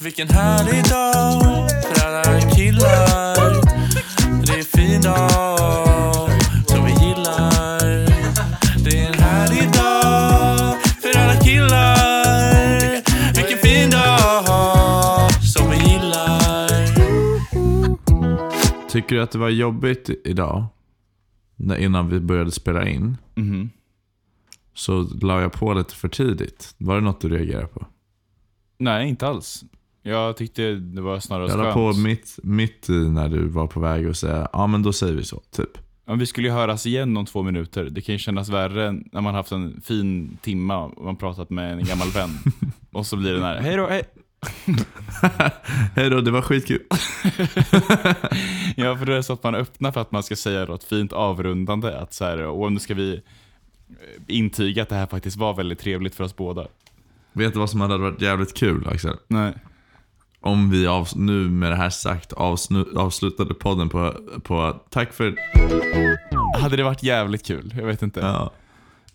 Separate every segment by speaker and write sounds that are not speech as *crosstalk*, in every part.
Speaker 1: Vilken härlig dag för alla killar. Det är en fin dag som vi gillar. Det är en härlig dag för alla killar. Vilken fin dag som vi gillar.
Speaker 2: Tycker du att det var jobbigt idag? När, innan vi började spela in.
Speaker 3: Mhm.
Speaker 2: Så la jag på lite för tidigt. Var det något du reagerade på?
Speaker 3: Nej, inte alls. Jag tyckte det var snarare
Speaker 2: Jag la
Speaker 3: skönt.
Speaker 2: på mitt, mitt i när du var på väg att säga ja men då säger vi så, typ. *laughs*
Speaker 3: Men vi skulle ju höras igen om två minuter. Det kan ju kännas värre än när man haft en fin timma och man pratat med en gammal
Speaker 2: *laughs*
Speaker 3: vän. och så blir det den här, hej då, hej.
Speaker 2: Hej då, det var skitkul.
Speaker 3: Ja, för det är så att man öppnar för att man ska säga något fint avrundande. Att så här, och nu ska vi eh, intyga att det här faktiskt var väldigt trevligt för oss båda.
Speaker 2: Vet du vad som hade varit jävligt kul Axel?
Speaker 3: Nej.
Speaker 2: Om vi av, nu med det här sagt avsnu, avslutade podden på, på tack för...
Speaker 3: Hade det varit jävligt kul? Jag vet inte.
Speaker 2: Ja,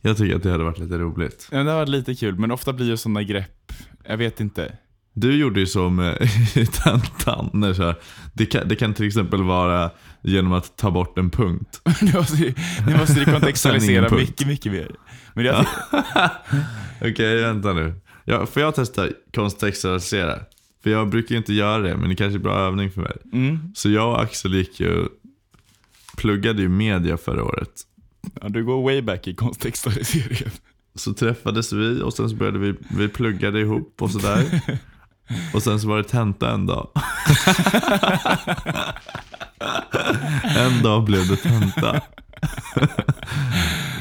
Speaker 2: jag tycker att det hade varit lite roligt.
Speaker 3: Ja, det har varit lite kul, men ofta blir ju sådana grepp, jag vet inte. *laughs*
Speaker 2: Du gjorde ju så med *laughs* i tentan. när så här, Det kan, det kan till exempel vara genom att ta bort en punkt. *laughs*
Speaker 3: Nu måste vi- nu måste vi
Speaker 2: Sanningen,
Speaker 3: kontextualisera
Speaker 2: punkt.
Speaker 3: mycket, mycket mer. Men jag,
Speaker 2: Okej, vänta nu. Ja, får jag testa kontextualisera? För jag brukar ju inte göra det, men det kanske är bra övning för mig.
Speaker 3: mm,
Speaker 2: Så jag och Axel gick ju, pluggade ju media förra året.
Speaker 3: ja, du går way back i kontextualiseringen.
Speaker 2: Så träffades vi och sen så började vi, vi pluggade ihop och sådär. Och sen så var det tenta en dag. en dag blev det tenta.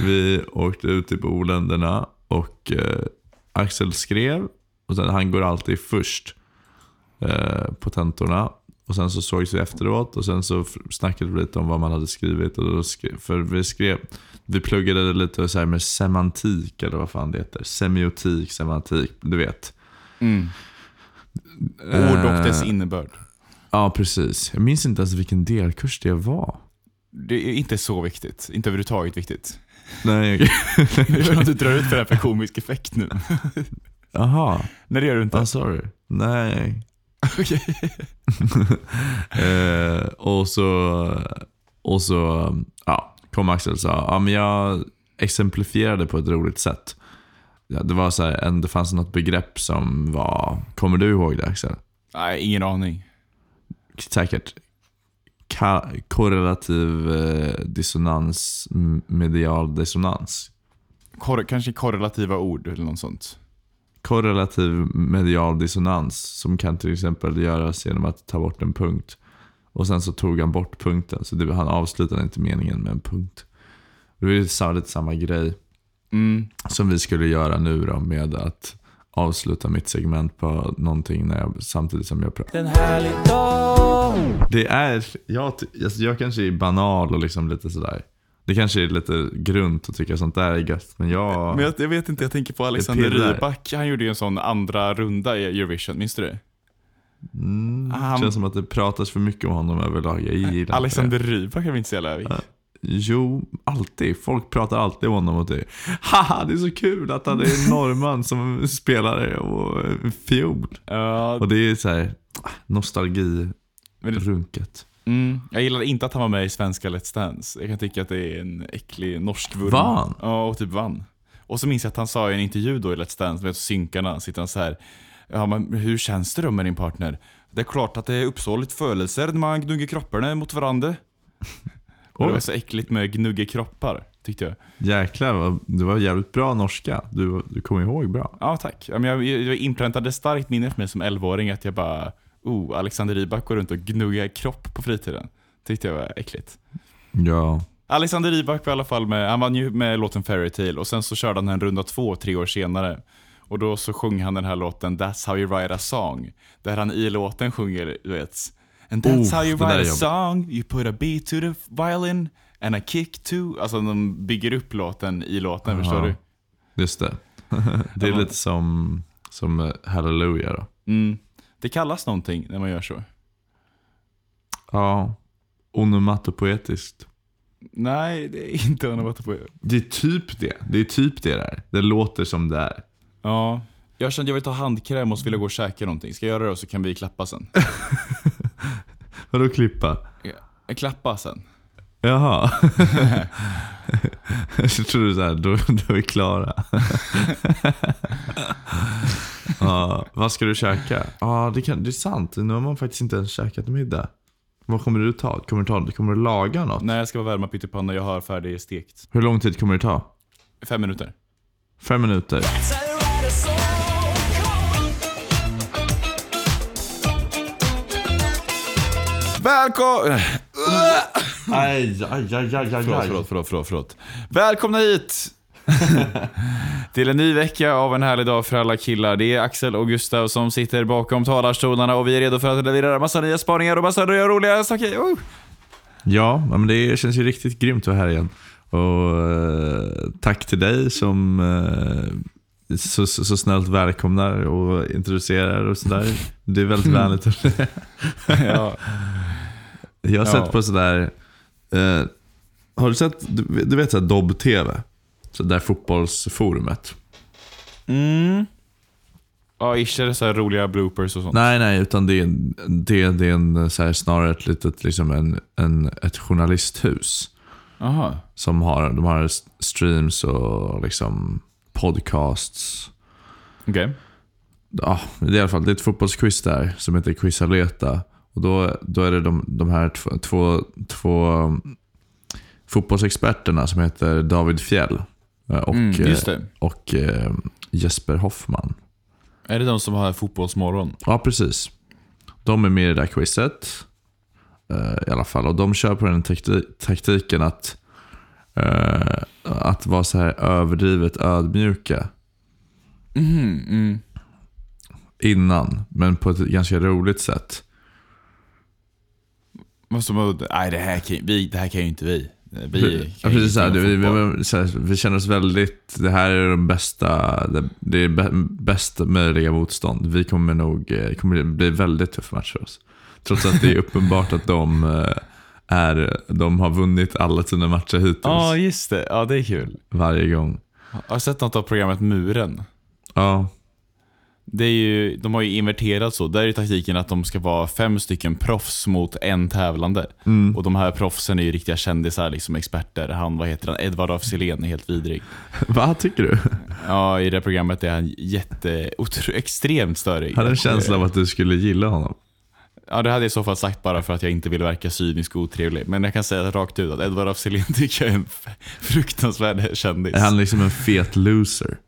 Speaker 2: vi åkte ut i Boländerna och eh, Axel skrev. Och sen, han går alltid först eh, på tentorna. Och sen så sågs vi efteråt och sen så f- snackade vi lite om vad man hade skrivit. Och då skrev, för vi skrev, vi pluggade lite så här med semantik eller vad fan det heter. Semiotik, semantik, du vet.
Speaker 3: Ord och dess
Speaker 2: Eh,
Speaker 3: innebörd.
Speaker 2: Ja, precis. Jag minns inte ens vilken delkurs det var.
Speaker 3: Det är inte så viktigt. Inte överhuvudtaget *laughs* viktigt.
Speaker 2: Nej, okej.
Speaker 3: Jag vill att du drar ut för det här för komisk effekt nu.
Speaker 2: *laughs* Jaha,
Speaker 3: Nej, det gör du inte.
Speaker 2: ah, sorry. Nej. *laughs*
Speaker 3: Okej.
Speaker 2: Eh, och så, och så ja, kom Axel och sa, ja, men jag exemplifierade på ett roligt sätt. Ja, det, var så här, en, det fanns något begrepp som var, kommer du ihåg det Axel?
Speaker 3: Nej, ingen aning.
Speaker 2: Säkert. Ka- korrelativ eh, dissonans, m- medial dissonans.
Speaker 3: Kor- kanske korrelativa ord eller något sånt.
Speaker 2: korrelativ medial dissonans som kan till exempel göras genom att ta bort en punkt. Och sen så tog han bort punkten, så det, han avslutade inte meningen med en punkt. Det är ju sa- lite samma grej
Speaker 3: Mm.
Speaker 2: som vi skulle göra nu då med att avsluta mitt segment på någonting när jag, samtidigt som jag pratar.
Speaker 1: Det är en härlig dag.
Speaker 2: Det är, jag, ty- alltså jag kanske är banal och liksom lite sådär. Det kanske är lite grunt att tycka sånt där är gött, men jag...
Speaker 3: Men jag, jag vet inte, jag tänker på Alexander
Speaker 2: pirrar.
Speaker 3: Rybak. Han gjorde ju en sån andra runda i Eurovision, minns du det?
Speaker 2: mm,
Speaker 3: Han-
Speaker 2: känns som att det pratas för mycket om honom överlag. Jag gillar inte det.
Speaker 3: Alexander Rybak är väl inte så jävla
Speaker 2: Ja. Jo, alltid. Folk pratar alltid om honom och det. Haha, det är så kul att han är en norrman som spelar och eh, fiol.
Speaker 3: Ja,
Speaker 2: Och det är så här ah, nostalgi-runket.
Speaker 3: men det- mm, jag gillar inte att han var med i svenska Let's Dance. Jag kan tycka att det är en äcklig norsk vurm.
Speaker 2: Vann?
Speaker 3: Ja, och typ vann. Och så minns jag att han sa i en intervju då i Let's Dance med synkarna, sitter han så här. Ja, men hur känns det då med din partner? Det är klart att det är uppsåligt födelser när man gnuggar kropparna mot varandra. Och det
Speaker 2: Oj.
Speaker 3: var så äckligt med gnugga kroppar, tyckte jag.
Speaker 2: Jäklar, vad- det var jävligt bra norska. Du, du kom ihåg bra.
Speaker 3: Ja, tack. Ja, men Jag, jag inpräntade starkt minne för mig som 11-åring att jag bara, oh, Alexander Rybak går runt och gnuggar kropp på fritiden. Tyckte jag var äckligt.
Speaker 2: Ja.
Speaker 3: Alexander Rybak var i alla fall med, han vann ju med låten Fairytale och sen så körde han en runda två tre år senare. Och då så sjöng han den här låten That's how you write a song. Där han i låten sjunger, du vet. And that's
Speaker 2: Oh,
Speaker 3: how you
Speaker 2: det där
Speaker 3: write
Speaker 2: är
Speaker 3: a
Speaker 2: jobbigt.
Speaker 3: song, you put a beat to the violin and a kick to. Alltså de bygger upp låten i låten,
Speaker 2: Aha.
Speaker 3: förstår du?
Speaker 2: Just det. *laughs* det är
Speaker 3: Ja.
Speaker 2: lite som, som eh, Hallelujah då.
Speaker 3: Mm. Det kallas någonting när man gör så.
Speaker 2: Ja. Onomatopoetiskt.
Speaker 3: Nej, det är inte vad han har varit på.
Speaker 2: Det är typ det. Det är typ det där. Det låter som det är.
Speaker 3: Ja. Jag kände jag vill ta handkräm och så vill jag gå och käka någonting. Ska jag göra det och så kan vi klappa sen?
Speaker 2: *laughs* Vadå klippa?
Speaker 3: Ja, Klappa sen.
Speaker 2: Jaha. *laughs* jag trodde såhär, då, då är vi klara. *laughs* ja, vad ska du käka? Ja, det, kan, det är sant. Nu har man faktiskt inte ens käkat middag. Vad kommer du ta? Kommer du, ta, kommer du laga något?
Speaker 3: När jag ska vara värma pyttipanna, jag har färdig stekt.
Speaker 2: Hur lång tid kommer det ta?
Speaker 3: Fem minuter.
Speaker 2: Fem minuter.
Speaker 3: Välkommen!
Speaker 2: Aj, aj, aj, aj, aj,
Speaker 3: Förlåt, förlåt, förlåt, förlåt, förlåt. Välkomna hit! *laughs* Till en ny vecka av en härlig dag för alla killar. Det är Axel och Gustav som sitter bakom talarstolarna och vi är redo för att leverera massa nya spaningar och massa nya roliga saker. Oh!
Speaker 2: Ja, ja, men det känns ju riktigt grymt att vara här igen. Och eh, tack till dig som eh, så, så, så snällt välkomnar och introducerar och sådär. Det är väldigt vänligt.
Speaker 3: Ja.
Speaker 2: Jag har
Speaker 3: Ja.
Speaker 2: sett på sådär, eh, har du sett, du, du vet såhär Dobb-TV? Så där fotbollsforumet.
Speaker 3: Mm. Ja, ish är det så här roliga bloopers och sånt.
Speaker 2: Nej, nej, utan det är, en- det, det är en, så här, snarare ett litet, liksom en, en, ett journalisthus.
Speaker 3: Aha.
Speaker 2: Som har, de har streams och liksom podcasts.
Speaker 3: Okej.
Speaker 2: Ja, det är i alla fall det är ett fotbollsquiz där som heter Quizaleta. Och då, då är det de, de här två, två, två um, fotbollsexperterna som heter David Fjell eh, och,
Speaker 3: Mm,
Speaker 2: eh,
Speaker 3: just det.
Speaker 2: och eh, Jesper Hoffman.
Speaker 3: Är det de som har fotbollsmorgon?
Speaker 2: Ja, precis. De är med i det där quizet. eh, I alla fall. Och de kör på den takti- taktiken att, eh, att vara så här överdrivet ödmjuka
Speaker 3: Mhm, mm.
Speaker 2: innan. Men på ett ganska roligt sätt.
Speaker 3: Vad som- Nej, det här, kan, vi, det här kan ju inte vi. Vi
Speaker 2: Pre- ja,
Speaker 3: kan ju
Speaker 2: precis, så här,
Speaker 3: inte
Speaker 2: vi,
Speaker 3: fotboll.
Speaker 2: vi, så här, vi känner oss väldigt, det här är de bästa, det, det är bä- bästa möjliga motstånd. Vi kommer nog, eh, kommer bli väldigt tuff match för oss. Trots att
Speaker 3: *laughs*
Speaker 2: det är uppenbart att de eh, är, de har vunnit alla sina matcher hittills.
Speaker 3: Ja, just det. Ja, det är kul.
Speaker 2: Varje gång.
Speaker 3: Jag har sett något av programmet Muren.
Speaker 2: Ja,
Speaker 3: Det är ju, de har ju inverterat så. Där är ju taktiken att de ska vara fem stycken proffs mot en tävlande. Och de här proffsen är ju riktiga kändisar, liksom experter. Han, vad heter han? Edvard af Sillén är helt vidrig.
Speaker 2: vad tycker du?
Speaker 3: Ja, i det här programmet är han jätte, otro, extremt störig.
Speaker 2: Jag hade en känsla av att du skulle gilla honom.
Speaker 3: Ja, det hade jag i så fall sagt bara för att jag inte vill verka cynisk och otrevlig. Men jag kan säga rakt ut att Edvard af Sillén *laughs* tycker jag är en f- fruktansvärd kändis.
Speaker 2: Är han liksom en fet loser?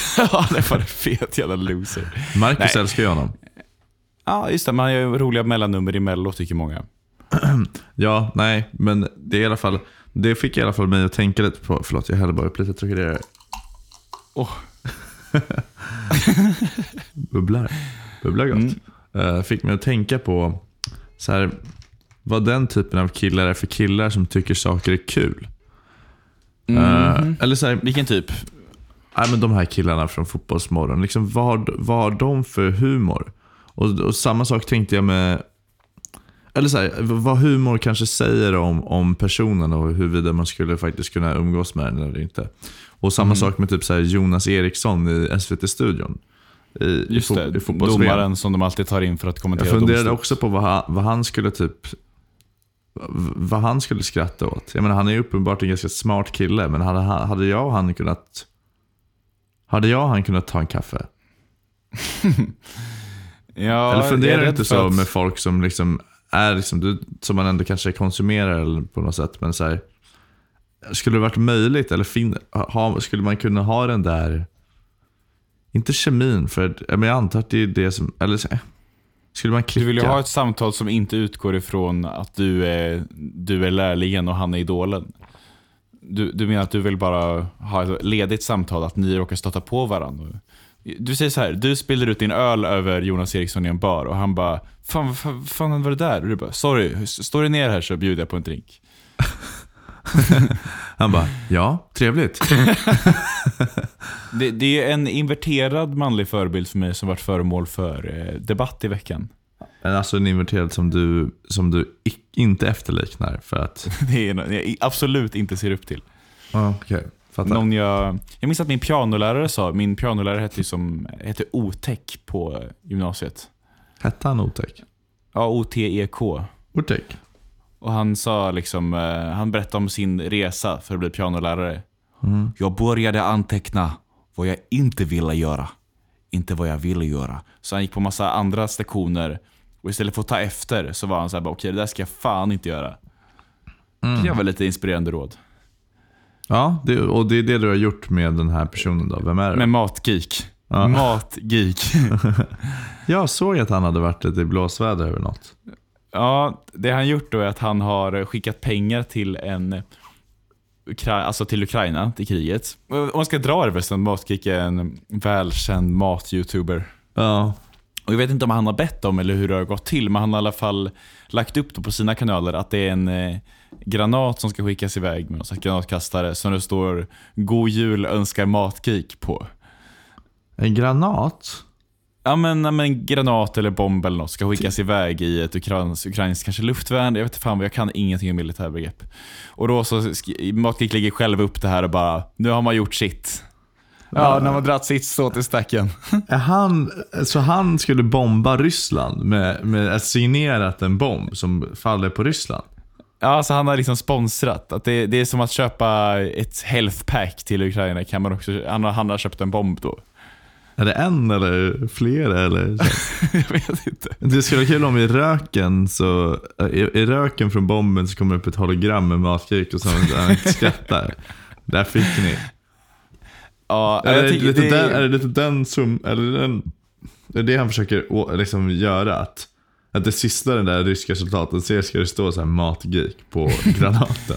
Speaker 3: *laughs* ja, det var en fet jävla loser.
Speaker 2: Marcus
Speaker 3: Nej.
Speaker 2: älskar ju honom.
Speaker 3: Ja, just det. Man gör ju roliga mellannummer i Mello, tycker många.
Speaker 2: Ja, nej, men det är i alla fall, det fick i alla fall mig att tänka lite på, förlåt jag hällde bara upp lite Trocadero.
Speaker 3: Åh.
Speaker 2: *laughs* Bubblar. Bubblar gott. Eh, fick mig att tänka på så här, vad den typen av killar är för killar som tycker saker är kul. Eh, eller så här,
Speaker 3: Vilken typ?
Speaker 2: Nej, men de här killarna från Fotbollsmorgon, liksom, vad, har, vad har de för humor? Och, och samma sak tänkte jag med... Eller så här, v- vad humor kanske säger om, om personen och huruvida man skulle faktiskt kunna umgås med den eller inte. Och samma
Speaker 3: Mm.
Speaker 2: sak med typ så här Jonas Eriksson i SVT-studion. I,
Speaker 3: Just
Speaker 2: i, fo-
Speaker 3: det,
Speaker 2: i fotbolls
Speaker 3: domaren som de alltid tar in för att kommentera
Speaker 2: Jag funderade
Speaker 3: domstol.
Speaker 2: också på vad han, vad han skulle typ... v- Vad han skulle skratta åt. Jag menar, han är ju uppenbart en ganska smart kille, men hade, han- hade jag och han kunnat... Hade jag och han kunnat ta en kaffe?
Speaker 3: Ja,
Speaker 2: Eller
Speaker 3: jag är
Speaker 2: funderar du
Speaker 3: rädd
Speaker 2: inte
Speaker 3: för
Speaker 2: så
Speaker 3: att-
Speaker 2: med folk som liksom är liksom, du, som man ändå kanske konsumerar eller på något sätt, men så här, Skulle det varit möjligt, eller fin, ha, skulle man kunna ha den där... Inte kemin, för ja, men jag antar att det är det som... Eller så, här, skulle man klicka?
Speaker 3: Du vill ju ha ett samtal som inte utgår ifrån att du är, du är lärlingen och han är idolen. Du, du menar att du vill bara ha ett ledigt samtal, att ni råkar stöta på varandra? Du säger så här, du spiller ut din öl över Jonas Eriksson i en bar och han bara Fan, vad fan, fan var det där? Och du bara, sorry, står du ner här så bjuder jag på en drink.
Speaker 2: Han bara, ja, trevligt.
Speaker 3: Det, det är en inverterad manlig förebild för mig som varit föremål för eh, debatt i veckan. *laughs*
Speaker 2: Men Alltså en inverterad som du, som du ic- inte efterliknar för att...
Speaker 3: Det är en jag absolut inte ser upp till.
Speaker 2: *laughs* Ja, okej. Fattar.
Speaker 3: Någon jag, jag minns att min pianolärare sa, min pianolärare hette, ju som, hette Otäck på gymnasiet.
Speaker 2: Hette han Otäck?
Speaker 3: Ja, O-T-E-K.
Speaker 2: Otäck?
Speaker 3: Och han sa liksom, eh, han berättade om sin resa för att bli pianolärare.
Speaker 2: Mm.
Speaker 3: Jag började anteckna vad jag inte ville göra. Inte vad jag ville göra. Så han gick på massa andra sektioner. Och istället för att ta efter så var han så här, bara, okej det där ska jag fan inte göra. Det var lite inspirerande råd.
Speaker 2: Ja, det, och det är det du har gjort med den här personen då. Vem är det?
Speaker 3: Men matgeek. Matgeek.
Speaker 2: Jag såg att han hade varit lite i blåsväder över något.
Speaker 3: ja, det han gjort då är att han har skickat pengar till en Ukra- alltså till Ukraina, till kriget. Om man ska dra det förresten, Matgeek är en välkänd mat-youtuber.
Speaker 2: Ja.
Speaker 3: Och jag vet inte om han har bett om eller hur det har gått till, men han har i alla fall lagt upp då på sina kanaler att det är en eh, granat som ska skickas iväg med någon slags granatkastare som det står “God jul önskar matgeek” på.
Speaker 2: En granat?
Speaker 3: Ja men, ja, men granat eller bomb eller något ska skickas iväg i ett ukrains, ukrainskt kanske luftvärn. Jag vet inte fan, vad jag kan ingenting om militärbegrepp. Och då så sk- Matgeek lägger själv upp det här och bara “Nu har man gjort sitt”. Ja, när man dragit sitt så till stacken.
Speaker 2: Är Han, så han skulle bomba Ryssland med, med att signerat en bomb som faller på Ryssland?
Speaker 3: Ja, alltså han har liksom sponsrat. Att det, det är som att köpa ett health pack till Ukraina. Kan man också, han, har, han har köpt en bomb då.
Speaker 2: Är det en eller flera? Eller?
Speaker 3: *laughs* Jag vet inte.
Speaker 2: Det skulle vara kul om i röken så eh, i, i röken från bomben så kommer det upp ett hologram med matkrig och så han skrattar. Där fick ni.
Speaker 3: Ja,
Speaker 2: Är
Speaker 3: jag
Speaker 2: det,
Speaker 3: tycker
Speaker 2: lite
Speaker 3: det-
Speaker 2: den, är det lite den som, är det, den, är det han försöker å- liksom göra? Att, att det sista den där ryska soldaten ser ska det stå så här matgeek
Speaker 3: *laughs*
Speaker 2: på granaten.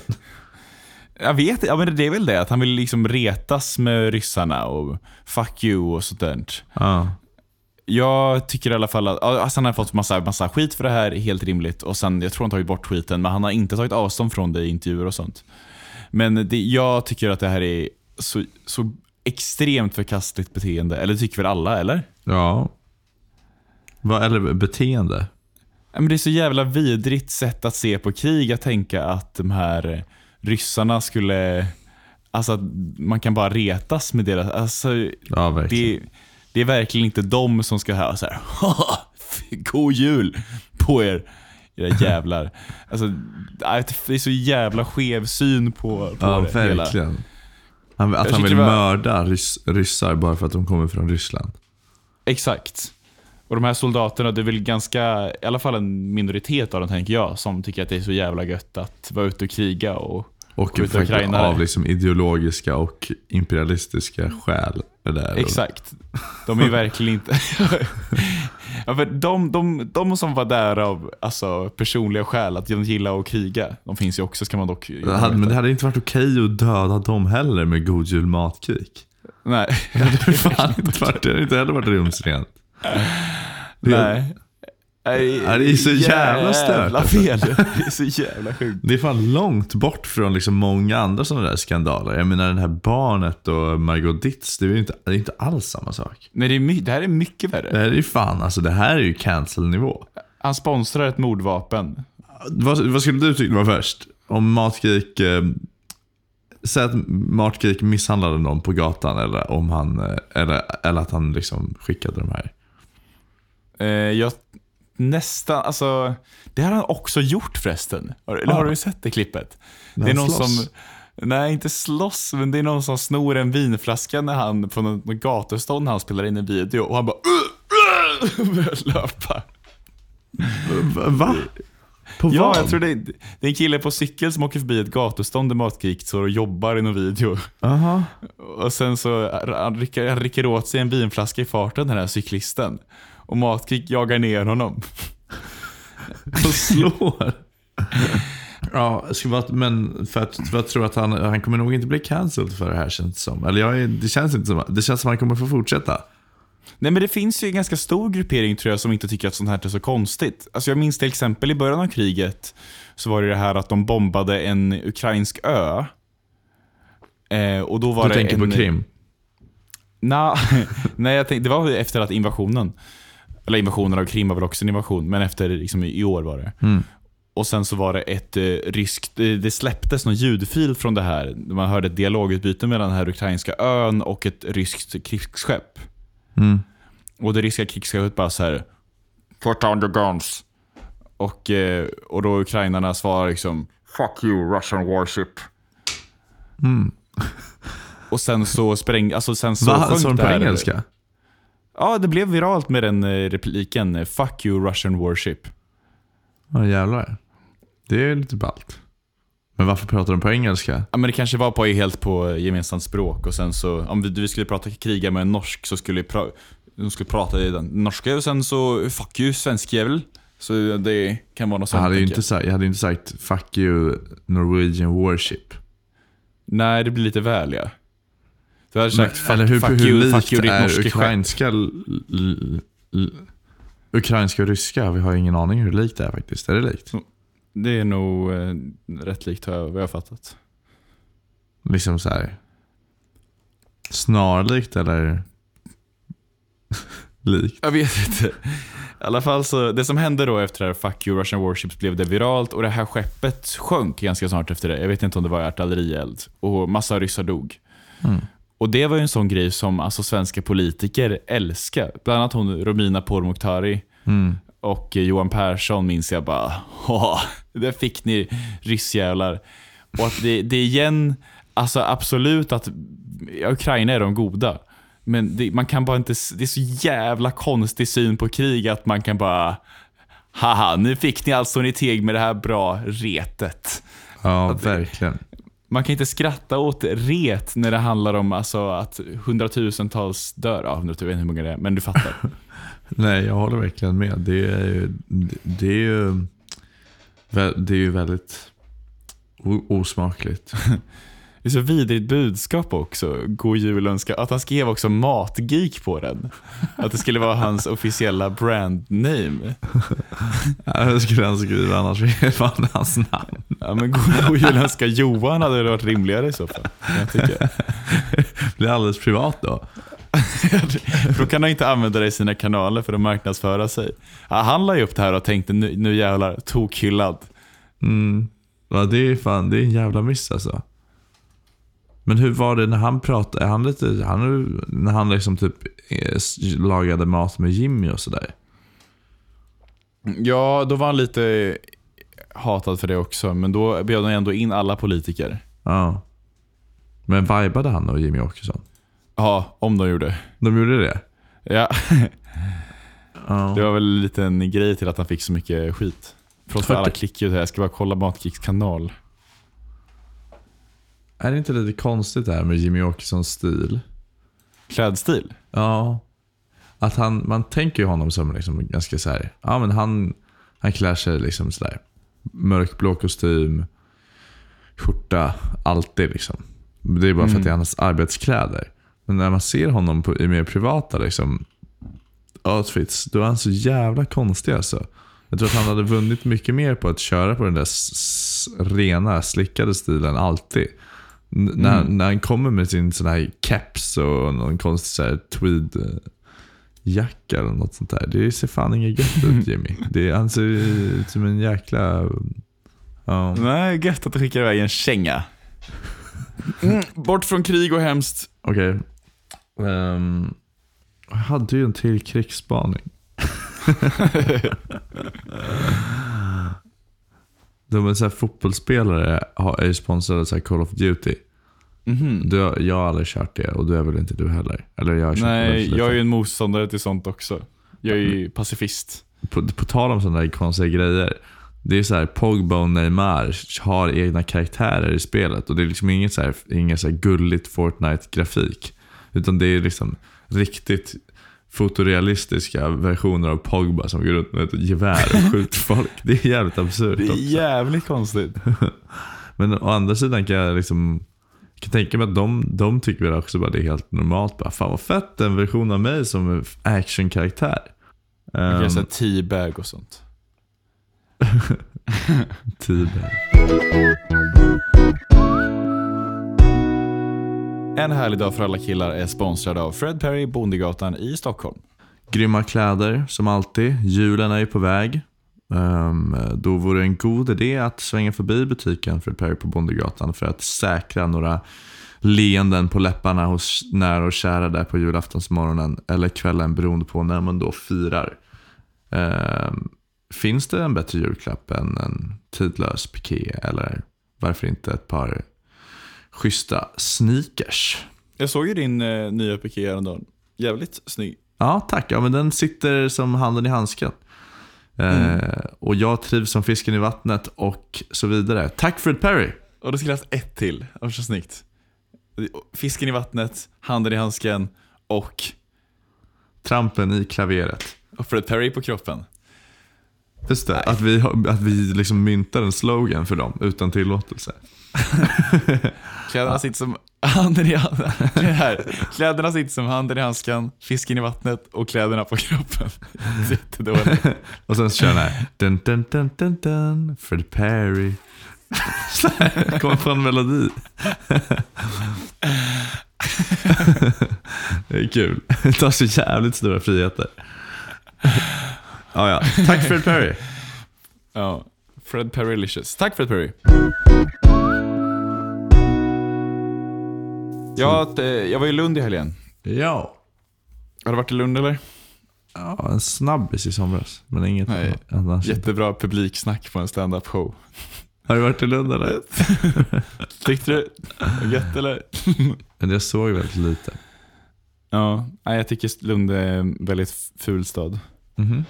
Speaker 3: Jag vet ja, men det är väl det. Att han vill liksom retas med ryssarna och fuck you och sånt där.
Speaker 2: ja.
Speaker 3: Jag tycker i alla fall att ja, alltså han har fått massa, massa skit för det här, helt rimligt. Och sen, Jag tror han tagit bort skiten, men han har inte tagit avstånd från det i intervjuer och sånt. Men det, jag tycker att det här är så, så extremt förkastligt beteende. Eller det tycker väl alla, eller?
Speaker 2: ja. Vad, eller beteende.
Speaker 3: Ja, men det är så jävla vidrigt sätt att se på krig, att tänka att de här ryssarna skulle... Alltså att man kan bara retas med deras... Alltså,
Speaker 2: Ja, verkligen.
Speaker 3: det, det är verkligen inte de som ska höra så här. God jul på er,
Speaker 2: *laughs*
Speaker 3: era jävlar. Alltså, nej, det är så jävla skev syn på, på
Speaker 2: ja,
Speaker 3: det hela.
Speaker 2: verkligen. Han, att han
Speaker 3: tycker
Speaker 2: vill
Speaker 3: det var-
Speaker 2: mörda rys, ryssar bara för att de kommer från Ryssland.
Speaker 3: Exakt. Och de här soldaterna, det är väl ganska, i alla fall en minoritet av dem tänker jag, som tycker att det är så jävla gött att vara ute och kriga och
Speaker 2: Och
Speaker 3: Skjuta
Speaker 2: faktiskt
Speaker 3: ukrainare.
Speaker 2: av liksom ideologiska och imperialistiska skäl. Det där.
Speaker 3: Exakt. De
Speaker 2: *laughs*
Speaker 3: är ju verkligen inte... *laughs* ja, för de, de, de som var där av alltså, personliga skäl, att de gillar att kriga, de finns ju också ska man dock...
Speaker 2: Det hade, men det hade inte varit okej att döda dem heller med god jul
Speaker 3: *laughs*
Speaker 2: matkrig.
Speaker 3: Nej.
Speaker 2: Det hade inte varit- det hade inte heller varit rumsrent. Det,
Speaker 3: Nej. Nej,
Speaker 2: Ja, det är så jävla
Speaker 3: jävla alltså.
Speaker 2: stört,
Speaker 3: fel. *laughs* Det är så jävla sjukt.
Speaker 2: det är fan långt bort från liksom många andra sådana där skandaler. Jag menar den här barnet och Margot Ditz, det är ju inte, det är inte alls samma sak.
Speaker 3: Nej, det, är my- det här är mycket
Speaker 2: Det
Speaker 3: värre.
Speaker 2: här är ju fan, alltså det här är ju cancel-nivå.
Speaker 3: Han sponsrar ett mordvapen.
Speaker 2: Vad, vad skulle du tycka var värst? Om Matgeek... Eh, säg att Matgeek misshandlade någon på gatan eller, om han, eh, eller, eller att han liksom skickade de här.
Speaker 3: Eh, jag nästan, alltså. Det här har han också gjort förresten. Har, eller
Speaker 2: Ah.
Speaker 3: har du sett det klippet?
Speaker 2: När
Speaker 3: det är
Speaker 2: han
Speaker 3: någon
Speaker 2: slåss.
Speaker 3: som, nej inte slåss, men det är någon som snor en vinflaska när han, från en- något gatustånd när han spelar in en video och han bara "Ugh, ugh", *laughs* och börjar löpa.
Speaker 2: Va? På
Speaker 3: Ja,
Speaker 2: vad?
Speaker 3: jag tror det är, det är en kille på cykel som åker förbi ett gatustånd där Matgeek står och jobbar i någon video.
Speaker 2: Aha.
Speaker 3: Och sen så han rycker, han rycker åt sig en vinflaska i farten den här cyklisten. Och Matgeek jagar ner honom.
Speaker 2: Och slår. *laughs* ja, jag skulle vara- men för att, för att tro att han, han kommer nog inte bli cancelled för det här känns det som. Eller jag är, det känns inte som. Det känns som att han kommer få fortsätta.
Speaker 3: Nej men det finns ju en ganska stor gruppering tror jag som inte tycker att sånt här är så konstigt. Alltså jag minns till exempel i början av kriget så var det det här att de bombade en ukrainsk ö. Eh, och då var
Speaker 2: Du
Speaker 3: det
Speaker 2: tänker
Speaker 3: en,
Speaker 2: på Krim.
Speaker 3: Nå, *laughs* nej, jag tänkte, det var efter att invasionen, eller invasionen av Krim var väl också en invasion, men efter liksom i år var det.
Speaker 2: Mm.
Speaker 3: Och sen så var det ett eh, risk... eh, Det släpptes någon ljudfil från det här. Man hörde ett dialogutbyte mellan den här ukrainska ön och ett ryskt krigsskepp.
Speaker 2: Mm.
Speaker 3: Och det ryska krigsskeppet bara så här... Put on the guns. Och, eh, och då ukrainarna svarar liksom... Fuck you Russian warship.
Speaker 2: Mm.
Speaker 3: Och sen så spräng... Alltså sen så
Speaker 2: Va,
Speaker 3: sjönk
Speaker 2: sa de
Speaker 3: det
Speaker 2: på
Speaker 3: här-
Speaker 2: engelska?
Speaker 3: Ja, det blev viralt med den eh, repliken. eh, Fuck you Russian warship.
Speaker 2: Ja jävlar. Det är lite ballt. Men varför pratar de på engelska?
Speaker 3: Ja, men det kanske var på helt på gemensamt språk och sen så, om vi, vi skulle prata kriga med en norsk så skulle vi pra, de skulle prata i den norska och sen så, fuck you svenskjävel. Så det kan vara
Speaker 2: Jag
Speaker 3: något sånt.
Speaker 2: hade, ju
Speaker 3: tänker
Speaker 2: inte
Speaker 3: jag.
Speaker 2: sagt, jag hade ju inte sagt 'fuck you Norwegian warship'.
Speaker 3: Nej, det blir lite väl ja. Du hade sagt fuck,
Speaker 2: eller hur,
Speaker 3: fuck
Speaker 2: hur
Speaker 3: you,
Speaker 2: likt
Speaker 3: fuck you ditt
Speaker 2: är
Speaker 3: norska skepp.
Speaker 2: ukrainska, l, l, l, ukrainska och ryska? Vi har ingen aning hur likt det är faktiskt. Är det likt?
Speaker 3: Det är nog eh, rätt likt har jag- vad jag har fattat.
Speaker 2: Liksom så här. Snarlikt eller *laughs* likt?
Speaker 3: Jag vet inte. I alla fall så, det som hände då efter det här Fuck you Russian Warships blev det viralt och det här skeppet sjönk ganska snart efter det. Jag vet inte om det var artillerield och massa ryssar dog.
Speaker 2: Mm.
Speaker 3: Och det var ju en sån grej som alltså svenska politiker älskar. Bland annat hon Romina Pourmokhtari
Speaker 2: Mm.
Speaker 3: och eh, Johan Persson minns jag bara, "Haha, där fick ni ryssjävlar. Och att det, det är igen, alltså absolut att ja, Ukraina är de goda. Men det, man kan bara inte, s- det är så jävla konstig syn på krig att man kan bara, haha, nu fick ni alltså ni teg med det här bra retet.
Speaker 2: Ja, verkligen.
Speaker 3: Man kan inte skratta åt ret när det handlar om alltså att hundratusentals dör. Ja, hundratusen, jag vet inte hur många det är, men du fattar.
Speaker 2: Nej, jag håller verkligen med. Det är ju, det är ju, vä- det är ju väldigt o- osmakligt.
Speaker 3: Det är så vidrigt budskap också. God jul önskar. Att han skrev också matgeek på den. Att det skulle vara hans officiella brandname.
Speaker 2: Ja, Det skulle han skriva annars är fan hans namn.
Speaker 3: Ja, men god, god jul önskar Johan hade det varit rimligare i så fall. kan Jag tycker.
Speaker 2: Det är alldeles privat då.
Speaker 3: För då kan han inte använda det i sina kanaler för att marknadsföra sig. Ja, han la ju upp det här och tänkte nu, nu jävlar, tokhyllad.
Speaker 2: Mm. Ja, det är fan, det är en jävla miss alltså. Men hur var det när han pratade? Är han lite, han, är- när han liksom typ eh, s- lagade mat med Jimmy och sådär?
Speaker 3: Ja, då var han lite hatad för det också. Men då bjöd han ändå in alla politiker.
Speaker 2: Ja. Men vibade han och Jimmy Åkesson?
Speaker 3: Ja, om de gjorde.
Speaker 2: De gjorde det?
Speaker 3: *laughs* Ja,
Speaker 2: Ja.
Speaker 3: Det var väl en liten grej till att han fick så mycket skit. Från för alla
Speaker 2: Fyrtio.
Speaker 3: klickljud här. Jag ska bara kolla Matgeeks kanal.
Speaker 2: Är det inte lite konstigt det här med Jimmy Åkessons stil?
Speaker 3: Klädstil.
Speaker 2: Ja. Att han, man tänker ju honom som liksom ganska så här, ja men han, han klär sig liksom sådär. Mörkblå kostym, skjorta, alltid liksom. Det är bara för att det är hans arbetskläder. Men när man ser honom på, i mer privata liksom, outfits, då är han så jävla konstig alltså. Jag tror att han hade vunnit mycket mer på att köra på den där s- s- rena, slickade stilen alltid. N-
Speaker 3: Mm.
Speaker 2: när, när han kommer med sin sån här caps och någon konstig så här tweed eh, jacka eller något sånt där. Det ser fan inget gött
Speaker 3: *laughs*
Speaker 2: ut Jimmy. Det, han ser ut som en jäkla... Ja.
Speaker 3: Nej, gött att du skickar iväg en känga. Mm, bort från krig och hemskt.
Speaker 2: Okej. Ehm, jag hade ju en till krigsspaning. *laughs* De är så här, fotbollsspelare har- är ju sponsrade av så här Call of Duty.
Speaker 3: Mhm.
Speaker 2: Du, har- jag har aldrig kört det och du är väl inte du heller? Eller jag har kört det väldigt
Speaker 3: Nej,
Speaker 2: lite.
Speaker 3: jag är ju en motståndare till sånt också. Jag är ju pacifist.
Speaker 2: på, på tal om sådana där konstiga grejer. Det är så här, Pogba och Neymar har egna karaktärer i spelet och det är liksom inget så här, ingen så här gulligt Fortnite-grafik. Utan det är liksom riktigt fotorealistiska versioner av Pogba som går runt med ett gevär och skjuter
Speaker 3: *laughs*
Speaker 2: folk. Det är jävligt absurt
Speaker 3: Det är
Speaker 2: också.
Speaker 3: jävligt konstigt.
Speaker 2: Men å andra sidan kan jag liksom jag kan tänka mig att de, de tycker väl också bara det är helt normalt. Bara, Fan vad fett, en version av mig som en actionkaraktär.
Speaker 3: Jag kan
Speaker 2: Ehm,
Speaker 3: säga teabag och sånt.
Speaker 2: Tiber.
Speaker 3: En härlig dag för alla killar är sponsrad av Fred Perry, Bondegatan i Stockholm.
Speaker 2: Grymma kläder som alltid. Julen är ju på väg. Ehm, då vore det en god idé att svänga förbi butiken Fred Perry på Bondegatan för att säkra några leenden på läpparna hos nära och kära där på julaftonsmorgonen eller kvällen beroende på när man då firar. Ehm, finns det en bättre julklapp än en tidlös piké eller varför inte ett par schyssta sneakers?
Speaker 3: Jag såg ju din eh, nya piké häromdagen. Jävligt snygg.
Speaker 2: Ja, tack. Ja, men den sitter som handen i handsken. Eh, och jag trivs som fisken i vattnet och så vidare. Tack Fred Perry!
Speaker 3: Och det skulle jag haft ett till. Det var så snyggt. Fisken i vattnet, handen i handsken och,
Speaker 2: Trampen i klaveret.
Speaker 3: och Fred Perry på kroppen.
Speaker 2: Just det, att vi, har- att vi liksom myntar en slogan för dem utan tillåtelse.
Speaker 3: Kläderna sitter som handen i *laughs* handen. Det här. Kläderna sitter som handen i handsken, fisken i vattnet och kläderna på kroppen. *laughs* Jättedåligt.
Speaker 2: Och sen så kör den här. Dun, dun, dun, dun, dun, Fred Perry. Så här, Kommer på en melodi. *laughs* Det är kul. Det tar så jävligt stora friheter. Ja, ja. Tack Fred Perry.
Speaker 3: Ja. Fred Perrylicious. Tack Fred Perry. Jag, eh, jag var i Lund i helgen.
Speaker 2: Ja.
Speaker 3: Har du varit i Lund eller?
Speaker 2: Ja, en snabbis i somras. Men inget
Speaker 3: Nej,
Speaker 2: annars.
Speaker 3: Jättebra publiksnack på en stand-up show.
Speaker 2: Har du varit i Lund eller?
Speaker 3: Tyckte *laughs* du? Gött eller?
Speaker 2: *laughs* Men jag såg väldigt lite.
Speaker 3: Ja, nej, jag tycker Lund är en väldigt ful stad.
Speaker 2: Mhm.